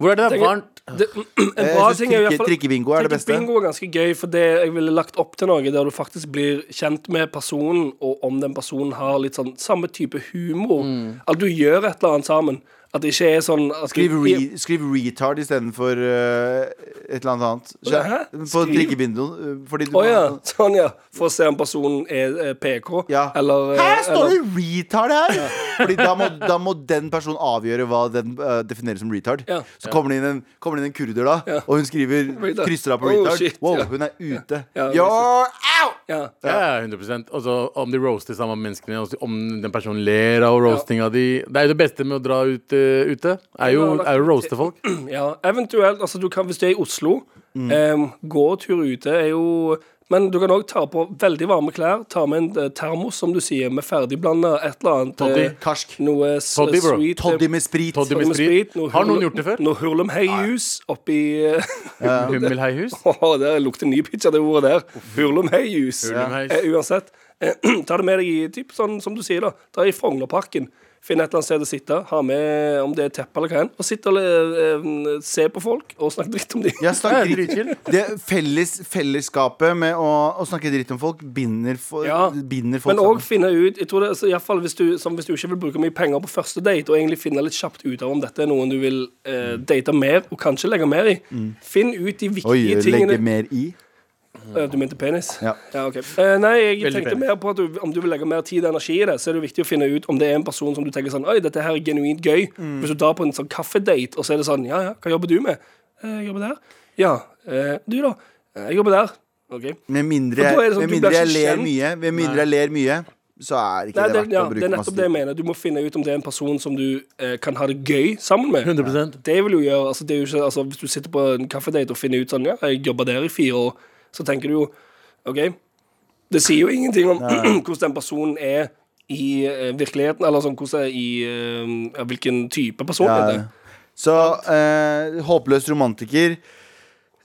Speaker 3: Eh,
Speaker 4: Hvor er det det
Speaker 2: Tenker-
Speaker 4: er varmt?
Speaker 2: Det, en
Speaker 3: Jeg
Speaker 2: bra
Speaker 3: synes
Speaker 2: ting er i hvert
Speaker 3: trikke-
Speaker 2: fall
Speaker 3: Trikkebingo er det beste.
Speaker 2: Bingo er ganske gøy, for det jeg ville lagt opp til noe der du faktisk blir kjent med personen, og om den personen har litt sånn samme type humor. At du gjør et eller annet sammen. At det ikke er sånn at
Speaker 3: Mm. Skriv, re, skriv retard istedenfor uh, et eller annet annet.
Speaker 2: Hæ?
Speaker 3: På
Speaker 2: Skriv-
Speaker 3: drikkebindoen. Fordi du
Speaker 2: Å ja. Sånn, ja. For å se om personen er eh, PK.
Speaker 3: Ja.
Speaker 2: Eller eh,
Speaker 3: Her står
Speaker 2: eller-
Speaker 3: det retard her! Fordi da må, da må den personen avgjøre hva den eh, definerer som retard.
Speaker 2: Ja.
Speaker 3: Så kommer det inn en, kommer det inn en kurder, da, og hun skriver
Speaker 2: Retard.
Speaker 3: krysser av på
Speaker 2: Oh,
Speaker 3: retard.
Speaker 2: shit,
Speaker 3: wow,
Speaker 2: ja.
Speaker 3: hun er ute.
Speaker 2: Ja,
Speaker 3: You're out!
Speaker 2: ja.
Speaker 4: Ja, 100 Og så om de roaster sammen med menneskene, og om den personen ler av roastinga di Det er jo det beste med å dra ut eh, ute, er jo, er jo å roaste folk.
Speaker 2: ja. Eventuelt, altså du kan, hvis du er i Oslo,
Speaker 3: Mm.
Speaker 2: em, gåtur ute er jo men du kan òg ta på veldig varme klær. Ta med en eh, termos, som du sier, med ferdigblanda et eller annet.
Speaker 4: Toddy.
Speaker 2: eh,
Speaker 3: Karsk.
Speaker 2: Noe s-
Speaker 4: Toddy, bro.
Speaker 2: sweet, eh,
Speaker 3: Toddy med sprit.
Speaker 4: Toddy med
Speaker 2: toddy med sprit.
Speaker 4: sprit. Har noen
Speaker 2: hurlum-
Speaker 4: gjort det før?
Speaker 2: Noe hurlumheijus oppi eh, <laughs>
Speaker 4: Hummelheihus.
Speaker 2: Åh, det lukter nypitcha, det ordet der. Hurlumheijus.
Speaker 4: Hurlumheis.
Speaker 2: Eh, uansett. Eh, <clears throat> ta det med deg i typ, sånn som du sier, da. Dra i Frognerparken. Finn et eller annet sted å sitte, ha med om det er teppe eller hva enn, og sitte og eh, eh, se på folk og snakke dritt om dem.
Speaker 3: Jeg
Speaker 4: Ja,
Speaker 3: snakker
Speaker 4: dritchill.
Speaker 3: Det felles, fellesskapet med å, å snakke dritt om folk binder, fo-
Speaker 2: Ja,
Speaker 3: binder folk
Speaker 2: <laughs> Men òg
Speaker 3: sammen.
Speaker 2: finne ut jeg tror det, altså, i hvert fall hvis, du- som hvis du ikke vil bruke mye penger på første date, og egentlig finne litt kjapt ut av om dette er noen du vil eh, date mer, og kanskje legge mer i.
Speaker 4: Mm.
Speaker 2: Finn ut de viktige
Speaker 3: Oi, legge
Speaker 2: tingene.
Speaker 3: mer i.
Speaker 2: Eh, Du mente penis?
Speaker 3: Mm. Ja.
Speaker 2: ok. Eh, nei, jeg
Speaker 4: Veldig
Speaker 2: tenkte
Speaker 4: penis.
Speaker 2: mer på at du, om du vil legge mer tid og energi i det, så er det viktig å finne ut om det er en person som du tenker sånn Oi, dette her er genuint gøy.
Speaker 4: Mm.
Speaker 2: Hvis du drar på en sånn kaffedate, og så er det sånn Ja, ja, hva jobber du med? «Eh, Jeg jobber der. Ja. eh, Du, da? «Eh, Jeg jobber der. OK.
Speaker 3: Med mindre,
Speaker 2: For da er det sånn,
Speaker 3: med
Speaker 2: du
Speaker 3: mindre
Speaker 2: blir
Speaker 3: jeg
Speaker 2: ikke
Speaker 3: ler
Speaker 2: kjent.
Speaker 3: mye, med mindre jeg ler mye, så er ikke
Speaker 2: Nei,
Speaker 3: det
Speaker 2: det,
Speaker 3: verdt
Speaker 2: ja, det
Speaker 3: å
Speaker 2: er
Speaker 3: bruke masse
Speaker 2: nettopp det jeg
Speaker 3: tid.
Speaker 2: mener. Du må finne ut om det er en person som du eh, kan ha det gøy sammen med.
Speaker 4: 100
Speaker 2: Det vil jo gjøre, altså det er jo ikke, altså Hvis du sitter på en kaffedate og finner ut sånn Ja, jeg jobba der i fire år, så tenker du jo OK. Det sier jo ingenting om <clears throat> hvordan den personen er i eh, virkeligheten, eller sånn hvordan er i eh, ja, Hvilken type person
Speaker 3: Ja,
Speaker 2: er
Speaker 3: ja.
Speaker 2: det
Speaker 3: Så eh, håpløs romantiker.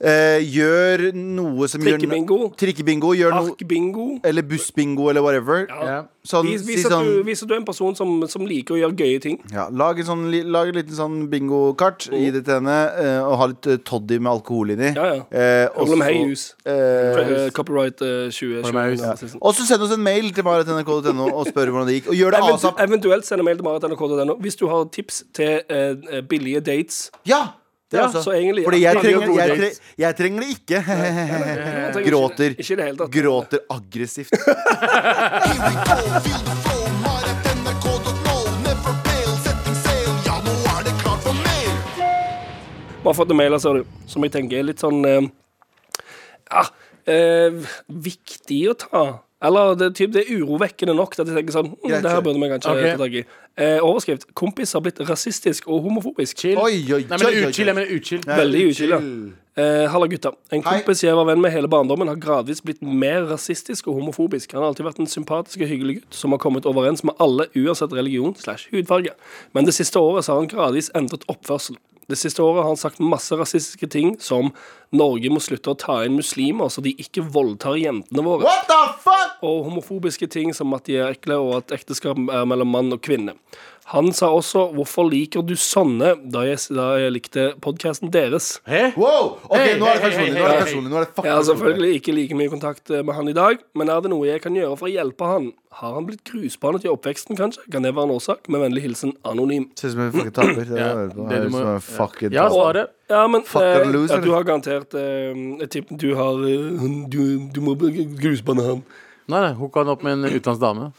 Speaker 3: Eh, gjør noe som gjør
Speaker 2: Trikkebingo.
Speaker 3: Trikkebingo. Gjør noe
Speaker 2: Arkbingo.
Speaker 3: Eller bussbingo, eller whatever.
Speaker 2: Ja.
Speaker 3: Sånn,
Speaker 2: Vis,
Speaker 3: si
Speaker 2: vis, at du,
Speaker 3: sånn
Speaker 2: vis at du er en person som, som liker å gjøre gøye ting.
Speaker 3: ja, lag, en sånn, li- lag en liten sånn bingokart, gi det til henne, eh, og ha litt eh, toddy med alkohol inni.
Speaker 2: Ja, ja.
Speaker 3: Eh, og
Speaker 2: Hold om
Speaker 3: så-
Speaker 2: høyhus.
Speaker 3: eh,
Speaker 2: Eh, Copyright eh, 2020.
Speaker 4: Hold om høyhus, ja.
Speaker 2: sesong.
Speaker 3: og så send oss en mail til maritnrk.no og spør hvordan det gikk. Og gjør det altså.
Speaker 2: Eventu
Speaker 3: asap.
Speaker 2: eventuelt send en mail til marit.nrk.no hvis du har tips til eh, billige dates.
Speaker 3: Ja! Det
Speaker 2: Ja,
Speaker 3: også.
Speaker 2: så egentlig-
Speaker 3: Fordi jeg
Speaker 2: Ja,
Speaker 3: trenger,
Speaker 2: gode
Speaker 3: jeg, tre,
Speaker 4: dates.
Speaker 3: jeg trenger det ikke. Eh, Gråter.
Speaker 2: Ikke, ikke i det hele tatt.
Speaker 3: Gråter aggressivt.
Speaker 2: Bare fått en mail, ser du, sånn, som jeg tenker er litt sånn eh, ah, eh, Viktig å ta. Eller det, er typ, det er urovekkende nok at jeg tenker sånn mm,
Speaker 3: Greit,
Speaker 2: Det
Speaker 3: kjør.
Speaker 2: her burde vi kanskje
Speaker 4: Ok.
Speaker 2: ta tak i. Eh, overskrift 'Kompis har blitt rasistisk og homofobisk'.
Speaker 4: Chill.
Speaker 3: Oi, oi,
Speaker 4: Nei, men
Speaker 3: oi, oi,
Speaker 4: utchill.
Speaker 3: oi.
Speaker 4: Jeg mener utchill.
Speaker 3: Nei,
Speaker 2: <laughs> Veldig uskyldig. Eh, Halla, gutta. En
Speaker 3: Hei.
Speaker 2: kompis jeg var venn med hele barndommen, har gradvis blitt mer rasistisk og homofobisk. Han har alltid vært en sympatisk og hyggelig gutt som har kommet overens med alle, uansett religion slash hudfarge. Men det siste året så har han gradvis endret oppførsel. Det siste året har han sagt masse rasistiske ting som Norge må slutte å ta inn muslimer så de ikke voldtar jentene våre
Speaker 3: What the fuck?
Speaker 2: og homofobiske ting som at de er ekle, og at ekteskap er mellom mann og kvinne. Han sa også 'Hvorfor liker du sånne?' da jeg, da jeg likte podkasten deres.
Speaker 4: Hæ?
Speaker 3: Wow! Ok,
Speaker 4: Hei,
Speaker 3: nå er det
Speaker 4: hei,
Speaker 3: personlig.
Speaker 4: hei,
Speaker 3: Nå er det
Speaker 4: hei,
Speaker 3: personlig. Nå er det fucking
Speaker 2: Jeg har
Speaker 3: personlig.
Speaker 2: selvfølgelig ikke like mye kontakt eh, med han i dag, men er det noe jeg kan gjøre for å hjelpe han? Har han blitt grusbanet i oppveksten, kanskje? Kan det være en årsak? Med vennlig hilsen Anonym.
Speaker 3: Ser ut som en fucking taper. Det er det jeg hører på.
Speaker 4: Ja, det
Speaker 3: Høres
Speaker 4: du
Speaker 3: ut
Speaker 4: må-
Speaker 3: som en fucking
Speaker 4: Ja,
Speaker 3: taper.
Speaker 4: svaret.
Speaker 2: Ja, men
Speaker 3: Fuck, er du
Speaker 2: eh,
Speaker 3: loser,
Speaker 2: ja, du
Speaker 3: eller?
Speaker 2: har garantert eh, Jeg tipper du har eh, du, du må grusbane han.
Speaker 4: Nei, nei, hooka han opp med en utenlandsk dame.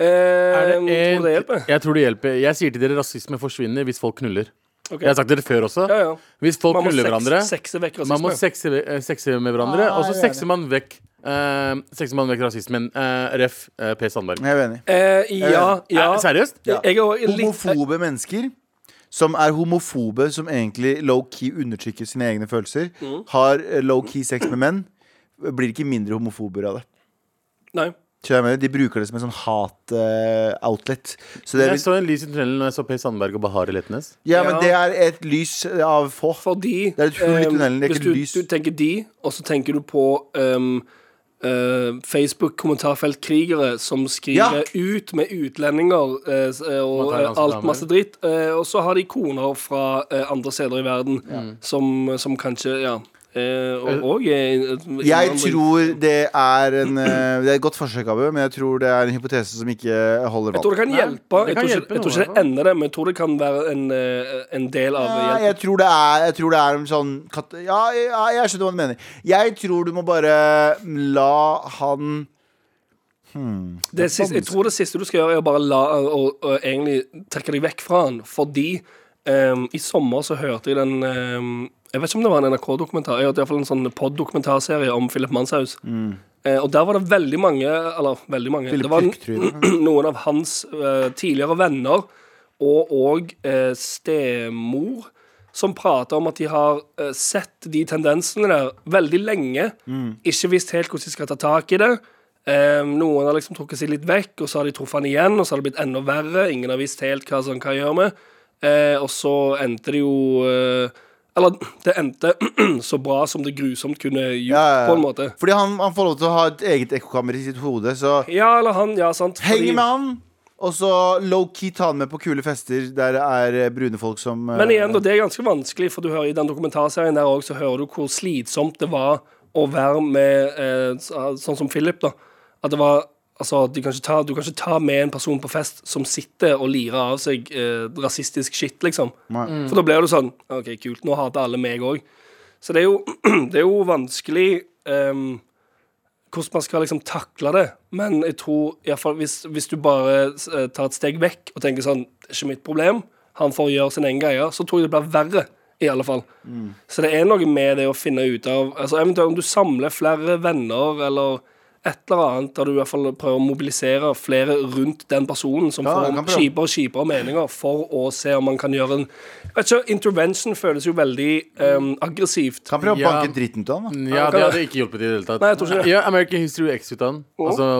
Speaker 2: Eh, tror du det hjelper?
Speaker 4: Jeg tror det hjelper. Jeg sier til dere rasisme forsvinner hvis folk knuller.
Speaker 2: Ok.
Speaker 4: Jeg har sagt det før også.
Speaker 2: Ja, ja.
Speaker 4: Hvis folk
Speaker 2: Man må
Speaker 4: knuller
Speaker 2: seks-
Speaker 4: hverandre
Speaker 2: sekse vekk
Speaker 4: Man må
Speaker 2: rasisme.
Speaker 4: sexe, eh, sexe med hverandre,
Speaker 3: Ah,
Speaker 4: og så
Speaker 3: jeg er
Speaker 4: sekser man vekk eh, Sekser man vekk rasismen. Eh, ref. eh, Per Sandberg.
Speaker 3: Jeg er uenig.
Speaker 2: Eh, ja, ja.
Speaker 4: Eh, seriøst?
Speaker 3: Ja.
Speaker 2: Jeg er også litt
Speaker 3: Homofobe mennesker som er homofobe, som egentlig low-key undertrykker sine egne følelser,
Speaker 2: Mm.
Speaker 3: har eh, low-key sex med menn, blir ikke mindre homofober av det.
Speaker 2: Nei.
Speaker 3: Skjønner du hva jeg mener? De bruker det som en sånn hat-outlet. Så det er,
Speaker 4: Jeg så en lys i tunnelen når jeg så Per Sandberg og Bahare Letnes.
Speaker 3: ja, men
Speaker 2: Ja.
Speaker 3: det er et lys av få.
Speaker 2: Fordi
Speaker 3: Det er et hull i
Speaker 2: ehm,
Speaker 3: tunnelen, det er
Speaker 2: hvis
Speaker 3: ikke
Speaker 2: du,
Speaker 3: lys.
Speaker 2: du tenker de, og så tenker du på ehm, eh, Facebook-kommentarfeltkrigere som skriver
Speaker 3: Ja.
Speaker 2: ut med utlendinger eh, s- eh, og eh,
Speaker 4: Thailandske
Speaker 2: alt
Speaker 4: damer.
Speaker 2: masse dritt. eh, og så har de koner fra eh, andre steder i verden Mm. som, som kanskje Ja. eh, og, og eh,
Speaker 3: Jeg tror det er en eh, Det er et godt forsøk, Abu, men jeg tror det er en hypotese som ikke holder
Speaker 2: Jeg tror
Speaker 3: vann.
Speaker 2: det kan hjelpe.
Speaker 4: det
Speaker 2: Jeg
Speaker 4: kan
Speaker 2: tror
Speaker 4: hjelpe
Speaker 2: ikke, jeg tror
Speaker 4: noe, altså.
Speaker 2: ikke det ender det, men jeg tror det kan være en, eh, en del av
Speaker 3: Ja,
Speaker 2: hjelpen.
Speaker 3: jeg tror det er, jeg tror det er en sånn kat ja, ja, jeg skjønner hva du mener. Jeg tror du må bare la han
Speaker 2: Det siste, jeg tror det siste du skal gjøre, er å bare la og, og egentlig trekke deg vekk fra han. Fordi ehm, i sommer så hørte jeg den ehm, Jeg vet ikke om det var en NRK-dokumentar. Jeg hørte i hvert fall en sånn pod-dokumentarserie om Philip Manshaus. Eh, og der var det veldig mange Eller veldig mange.
Speaker 3: Philip
Speaker 2: det var
Speaker 3: Tryggtryne.
Speaker 2: <clears throat> noen av hans eh, tidligere venner og òg eh, stemor som prater om at de har eh, sett de tendensene der veldig lenge.
Speaker 3: Mm.
Speaker 2: Ikke visst helt hvordan de skal ta tak i det. Eh, noen har liksom trukket seg litt vekk, og så har de truffet han igjen, og så har det blitt enda verre. Ingen har visst helt hva sånn hva gjør med. Eh, og så endte det jo eh, Eller det endte <clears throat> så bra som det grusomt kunne gjort,
Speaker 3: ja, ja.
Speaker 2: på en måte.
Speaker 3: Fordi han, han får lov til å ha et eget ekkokammer i sitt hode, så
Speaker 2: Ja, eller han, ja, sant.
Speaker 3: heng
Speaker 2: fordi-
Speaker 3: med han! Og så low-key ta han med på kule fester der det er eh, brune folk som eh,
Speaker 2: Men igjen, da, det er ganske vanskelig, for du hører i den dokumentarserien der også, så hører du hvor slitsomt det var å være med eh, så- sånn som Philip, da. At det var Altså, du kan, ikke ta, du kan ikke ta med en person på fest som sitter og lirer av seg eh, rasistisk shit, liksom.
Speaker 3: Nei.
Speaker 2: For da blir du sånn OK, kult, nå hater alle meg òg. Så det er jo, <clears throat> det er jo vanskelig ehm, hvordan man skal liksom takle det. Men jeg tror i hvert fall, hvis, hvis du bare eh, tar et steg vekk og tenker sånn Det er ikke mitt problem, han får gjøre sin egen greie, så tror jeg det blir verre. I alle fall.
Speaker 3: Mm.
Speaker 2: Så det er noe med det å finne ut av altså Eventuelt om du samler flere venner eller et eller annet, der du i hvert fall prøver å mobilisere flere rundt den personen som
Speaker 3: Ja, jeg
Speaker 2: får
Speaker 3: kan prøve.
Speaker 2: kjipere og kjipere meninger, for å se om man kan gjøre en Jeg vet ikke, Intervention føles jo veldig eh, aggressivt.
Speaker 3: Kan prøve å
Speaker 4: Ja. Mm.
Speaker 3: banke dritten ut av han, da.
Speaker 4: Ja, det hadde ikke hjulpet i det hele tatt.
Speaker 2: Nei, jeg tror ikke det.
Speaker 4: Ja, American History X ut av den. Altså,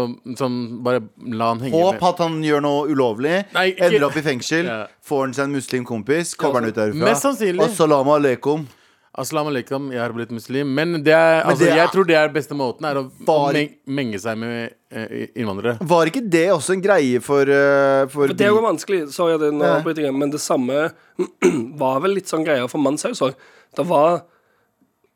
Speaker 4: som bare la han henge
Speaker 3: Håp at han gjør noe ulovlig,
Speaker 4: Nei, ikke-
Speaker 3: ender opp i fengsel,
Speaker 4: <laughs> Ja.
Speaker 3: får han seg en muslimkompis, kommer han ut derfra.
Speaker 4: Mest sannsynlig.
Speaker 3: Assalamu alaikum.
Speaker 4: Aslam alaikum, jeg har blitt muslim. Men, det er, altså,
Speaker 3: det er-
Speaker 4: jeg tror det er beste måten er å
Speaker 3: Bare-
Speaker 4: meng menge seg med eh, innvandrere.
Speaker 3: Var ikke det også en greie for, eh,
Speaker 2: For
Speaker 3: for,
Speaker 2: det er
Speaker 3: de-
Speaker 2: jo vanskelig, sorry, at det er en
Speaker 3: Ja.
Speaker 2: avbryting, men det samme <clears throat> var vel litt sånn greier for Manshaus òg. Det var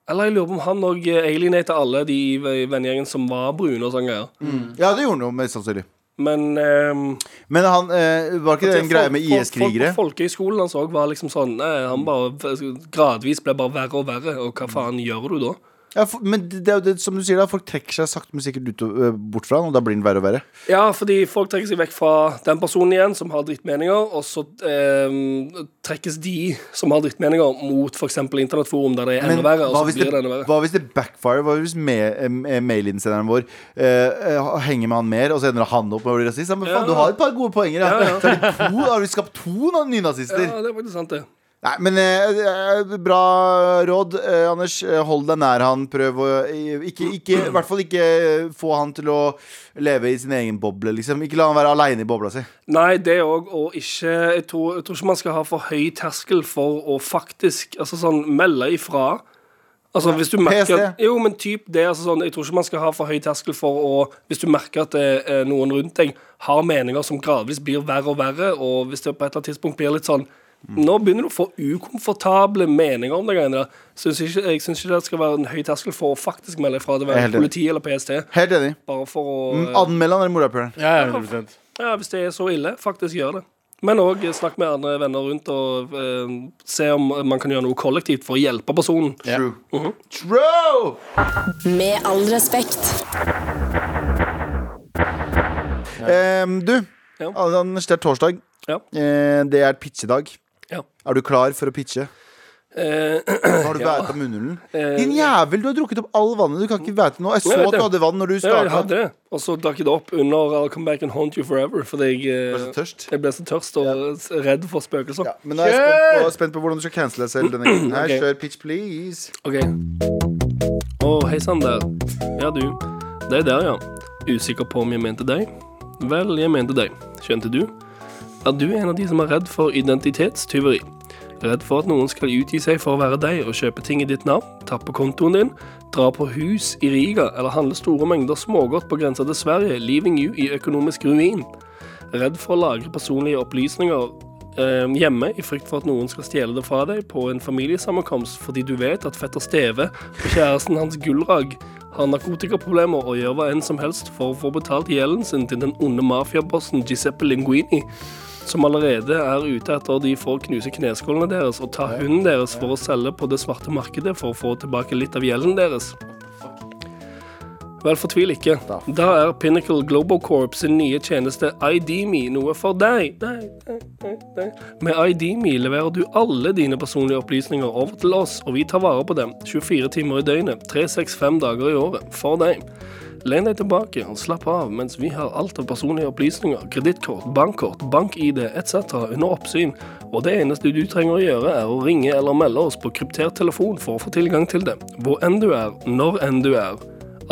Speaker 2: Eller jeg lurer på om han òg alienata alle de i i vennegjengen som var brune og sånne greier.
Speaker 3: Ja, det gjorde han jo mest sannsynlig.
Speaker 2: Men ehm,
Speaker 3: Men han, eh, var ikke det en
Speaker 2: folk-
Speaker 3: greie med
Speaker 2: folk-
Speaker 3: IS-krigere?
Speaker 2: Folk på folkehøyskolen hans òg var liksom sånn nei, Han bare gradvis ble bare verre og verre, og hva faen gjør du da?
Speaker 3: Ja, for, men det er jo det, som du sier da, folk trekker seg sakte, men sikkert ut, og- ø, bort fra han, og da blir han verre og verre.
Speaker 2: Ja, fordi folk trekker seg vekk fra den personen igjen som har drittmeninger, og så eh, trekkes de som har drittmeninger, mot f.eks. internettforum, der det er
Speaker 3: Men
Speaker 2: enda verre, og
Speaker 3: hva
Speaker 2: så
Speaker 3: hvis,
Speaker 2: blir
Speaker 3: det,
Speaker 2: det enda verre.
Speaker 3: hva hvis det backfire? Hva hvis me- em- em- mailinnsenderen vår eh, eh, henger med han mer, og så ender han opp med å bli rasist? Ja, Men faen,
Speaker 2: Ja.
Speaker 3: du har et par gode poenger, <laughs> ja. Så er det to, har du skapt to na- nynazister?
Speaker 2: Ja, det er faktisk sant, det.
Speaker 3: Nei, men eh, eh, bra råd, eh, Anders. Eh, Hold deg nær han. Prøv å eh, ikke, ikke, I hvert fall ikke eh, få han til å leve i sin egen boble, liksom. Ikke la han være aleine i bobla si.
Speaker 2: Nei, det òg, og ikke jeg tror, jeg tror ikke man skal ha for høy terskel for å faktisk altså sånn, melde ifra. Altså hvis du merker at,
Speaker 3: PST.
Speaker 2: Jo, men typ det altså sånn, Jeg tror ikke man skal ha for høy terskel for å Hvis du merker at det er noen rundt deg har meninger som gradvis blir verre og verre, og hvis det på et eller annet tidspunkt blir litt sånn Nå begynner du å få ukomfortable meninger om det greiene der. Synes ikke, jeg syns ikke det skal være en høy terskel for å faktisk melde ifra til
Speaker 3: Jeg er helt
Speaker 2: være
Speaker 3: enig. Mm,
Speaker 2: politi eller PST.
Speaker 3: Helt enig.
Speaker 2: Bare for å eh,
Speaker 3: Anmeld han eller morapuleren.
Speaker 4: Ja, ja, 100
Speaker 2: ja, hvis det er så ille, faktisk gjør det. Men òg snakk med andre venner rundt og eh, se om man kan gjøre noe kollektivt for å hjelpe personen.
Speaker 4: Ja.
Speaker 3: True. True!
Speaker 1: Med all respekt.
Speaker 3: Em, Ehm, du,
Speaker 2: Ja.
Speaker 3: Anders, det er torsdag.
Speaker 2: Ja.
Speaker 3: Eh, det er pitchedag.
Speaker 2: Ja.
Speaker 3: Er du klar for å pitche?
Speaker 2: Eh,
Speaker 3: Har du
Speaker 2: Ja.
Speaker 3: vært av munnhulen?
Speaker 2: Eh,
Speaker 3: Din jævel, du har drukket opp all vannet. Du kan ikke væte nå. Jeg
Speaker 2: Nei,
Speaker 3: så
Speaker 2: det-
Speaker 3: at du hadde vann når du
Speaker 2: ja, jeg
Speaker 3: starta.
Speaker 2: hadde det, og så drakk jeg det opp under I'll Come Back and Haunt You Forever fordi jeg,
Speaker 3: Du
Speaker 2: eh,
Speaker 3: er så tørst.
Speaker 2: jeg ble så tørst og s- redd for spøkelser.
Speaker 3: Ja, men da er jeg spent på, spent på hvordan du skal cancele deg selv denne gangen. Her,
Speaker 2: Ok.
Speaker 3: Kjør pitch, please.
Speaker 2: OK. Å, hei sann der. Ja, du. Det er der, ja. Usikker på om jeg mente deg? Vel, jeg mente deg. Skjønte du? Er du en av de som er redd for identitetstyveri? Redd for at noen skal utgi seg for å være deg og kjøpe ting i ditt navn, tappe kontoen din, dra på hus i Riga eller handle store mengder smågodt på grensa til Sverige, leaving you i økonomisk ruin? Redd for å lagre personlige opplysninger eh, hjemme i frykt for at noen skal stjele det fra deg på en familiesammenkomst fordi du vet at fetter Steve og kjæresten hans Gullrag har narkotikaproblemer og gjør hva enn som helst for å få betalt gjelden sin til den onde mafiabossen Giuseppe Linguini, som allerede er ute etter de for å knuse kneskålene deres og ta hunden deres for å selge på det svarte markedet for å få tilbake litt av gjelden deres. Vel, fortvil ikke. Da er Pinnacle Global Corp sin nye tjeneste IDMe noe for deg. Nei, nei, nei, nei. Med IDMe leverer du alle dine personlige opplysninger over til oss, og vi tar vare på dem 24 timer i døgnet, 365 dager i året, for deg. Len deg tilbake og slapp av mens vi har alt av personlige opplysninger, kredittkort, bankkort, bank-ID etc. under oppsyn, og det eneste du trenger å gjøre er å ringe eller melde oss på kryptert telefon for å få tilgang til det, hvor enn du er, når enn du er.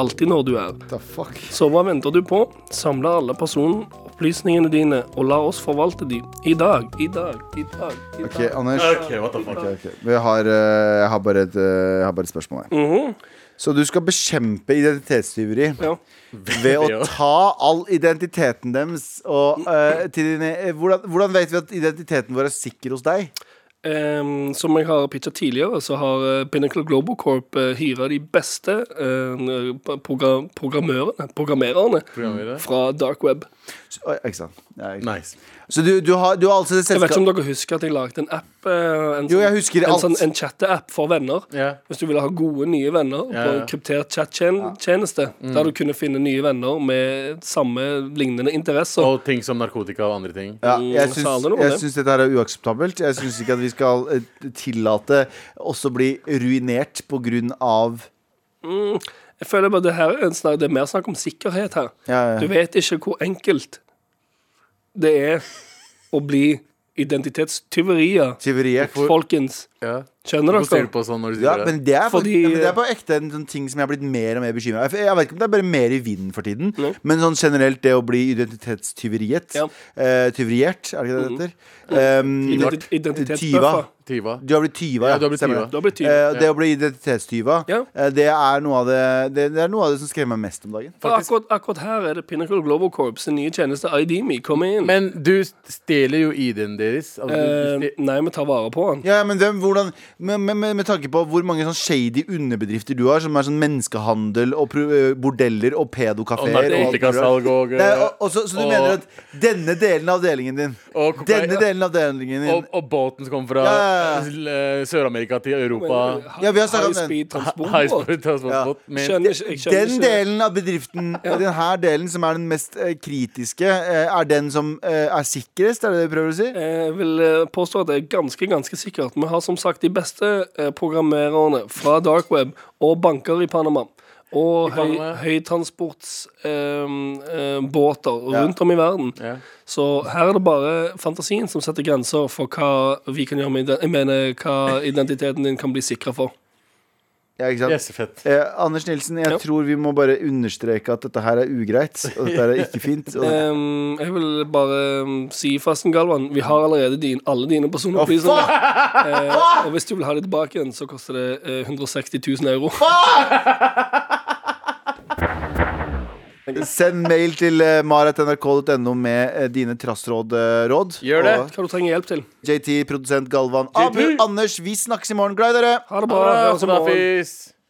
Speaker 2: Alltid når du er.
Speaker 5: The fuck?
Speaker 2: Så hva venter du på? Samle alle personopplysningene dine, og la oss forvalte de. I dag, i dag, i dag. i dag.
Speaker 5: Ok, Anders.
Speaker 4: Ok, what the fuck?
Speaker 5: Ok, ok. Vi har, eh, jeg, har bare et, eh, jeg har bare et spørsmål. her.
Speaker 2: Mhm.
Speaker 3: Så du skal bekjempe identitetstyveri
Speaker 2: Ja.
Speaker 3: ved å
Speaker 4: Ja.
Speaker 3: ta all identiteten deres og eh, til dine eh, hvordan, hvordan vet vi at identiteten vår er sikker hos deg?
Speaker 2: Ehm, som jeg har pitcha tidligere, så har eh, Pinnacle Global Corp uh, hyra de beste eh, progra programmørene, programmererne
Speaker 4: Programmerer.
Speaker 2: fra dark web.
Speaker 3: Så, oi, ikke sant? Ja, ikke sant.
Speaker 4: Nice.
Speaker 3: Så du, du, har, du har altså det
Speaker 2: Jeg vet ikke
Speaker 3: selskapet
Speaker 2: om dere husker at jeg lagde en app. eh, en
Speaker 3: Jo,
Speaker 2: sånn-
Speaker 3: jeg husker
Speaker 2: En,
Speaker 3: alt.
Speaker 2: sånn, en chatteapp for venner.
Speaker 4: Ja.
Speaker 2: Hvis du ville ha gode, nye venner
Speaker 4: Ja,
Speaker 2: på
Speaker 4: ja.
Speaker 2: en kryptert chattjeneste,
Speaker 3: Mm.
Speaker 2: der du kunne finne nye venner med samme lignende interesser.
Speaker 4: Og ting som narkotika og andre ting.
Speaker 3: ja,
Speaker 2: Mm,
Speaker 3: jeg
Speaker 2: sa han noe
Speaker 3: syns,
Speaker 2: om
Speaker 3: jeg
Speaker 2: det?
Speaker 3: syns dette her er uakseptabelt. Jeg syns ikke at vi skal eh, tillate oss å bli ruinert på grunn av
Speaker 2: Jeg føler bare det her er, en snak, det er mer snakk om sikkerhet her.
Speaker 3: Ja, ja.
Speaker 2: Du vet ikke hvor enkelt det er å bli identitetstyverier,
Speaker 3: tyverier.
Speaker 2: folkens.
Speaker 4: Ja.
Speaker 2: Skjønner
Speaker 4: Hvorfor ser du
Speaker 2: dere?
Speaker 4: på sånn når du
Speaker 3: Ja,
Speaker 4: sier det?
Speaker 3: men det er, for,
Speaker 2: Fordi-
Speaker 3: ja, men det er på ekte en sånn ting som jeg har blitt mer og mer bekymra for. Jeg vet ikke om det er bare mer i vinden for tiden,
Speaker 2: Nei.
Speaker 3: men sånn generelt det å bli identitetstyveriet
Speaker 2: Ja.
Speaker 3: eh, Tyveriert, er det ikke det
Speaker 4: Mhm.
Speaker 3: det heter? Um,
Speaker 2: Identi- Identitetsbøffer.
Speaker 4: Tyva.
Speaker 3: du har blitt tyva,
Speaker 4: Ja, du har blitt
Speaker 3: stemmer det.
Speaker 4: tyva.
Speaker 2: Da blir tyv.
Speaker 3: Eh, og det å bli identitetstyva,
Speaker 2: Ja.
Speaker 3: eh, det, er noe av det, det, det er noe av det som skremmer meg mest om dagen.
Speaker 2: Og Akkurat, akkurat her er det Pinnacle Global Corp sin nye tjeneste IDMe. Kom inn.
Speaker 4: Men du stjeler jo ID-en deres. Altså, du-
Speaker 3: Ehm,
Speaker 4: du
Speaker 2: Eh,
Speaker 4: stjeler-
Speaker 2: nei, vi tar vare på den.
Speaker 3: Ja, men hvem, hvordan, med, med, med, med tanke på hvor mange sånn shady underbedrifter du har, som er sånn menneskehandel og pro, eh, bordeller og
Speaker 4: og
Speaker 3: pedokafeer og alt mulig rart.
Speaker 4: narkotikasalg og,
Speaker 3: Nei, og, og så, så du
Speaker 4: og-
Speaker 3: mener at denne delen av delingen din
Speaker 4: Og kokain-
Speaker 3: Denne delen av delingen din
Speaker 4: og, og båten som kom fra
Speaker 3: Ja, ja, ja.
Speaker 4: til, eh, Sør-Amerika til Europa.
Speaker 3: Ja, vi har snakket om den.
Speaker 2: High-speed eh, transport.
Speaker 4: Highsport transportbåt. Men
Speaker 2: Skjønner ikke, jeg skjønner
Speaker 3: Den
Speaker 2: ikke-
Speaker 3: delen av bedriften, den her delen som er den mest eh, kritiske, eh, er den som eh, er sikrest, er det det du prøver å si?
Speaker 2: Jeg vil eh, påstå at det er ganske ganske sikkert. Vi har som sagt de beste eh, programmererne fra dark web og banker i Panama. Og høy,
Speaker 4: Panama, ja.
Speaker 2: høytransportsbåter rundt om i verden.
Speaker 4: Ja.
Speaker 2: Så her er det bare fantasien som setter grenser for hva vi kan gjøre med ide- Jeg mener hva identiteten din kan bli sikra for.
Speaker 3: Ja, ikke sant?
Speaker 4: Jessefett.
Speaker 3: Eh, Anders Nilsen, jeg
Speaker 2: Ja.
Speaker 3: tror vi må bare understreke at dette her er ugreit, og dette her er ikke fint. Og
Speaker 2: Ehm, jeg vil bare ehm, si, Fasten Galvan, vi har allerede din, alle dine personopplysninger. Eh, og hvis du vil ha det tilbake igjen, så koster det eh, 160 000 euro.
Speaker 3: Send mail til eh, marat.nrk.no med eh, dine trassråd. eh, råd.
Speaker 4: Gjør det.
Speaker 2: Hva du trenger hjelp til.
Speaker 3: Og JT, produsent Galvan. Abu, Anders, vi snakkes i morgen. Glad i dere.
Speaker 2: Ha det bra.
Speaker 4: Ha
Speaker 2: Høres i morgen.
Speaker 4: det.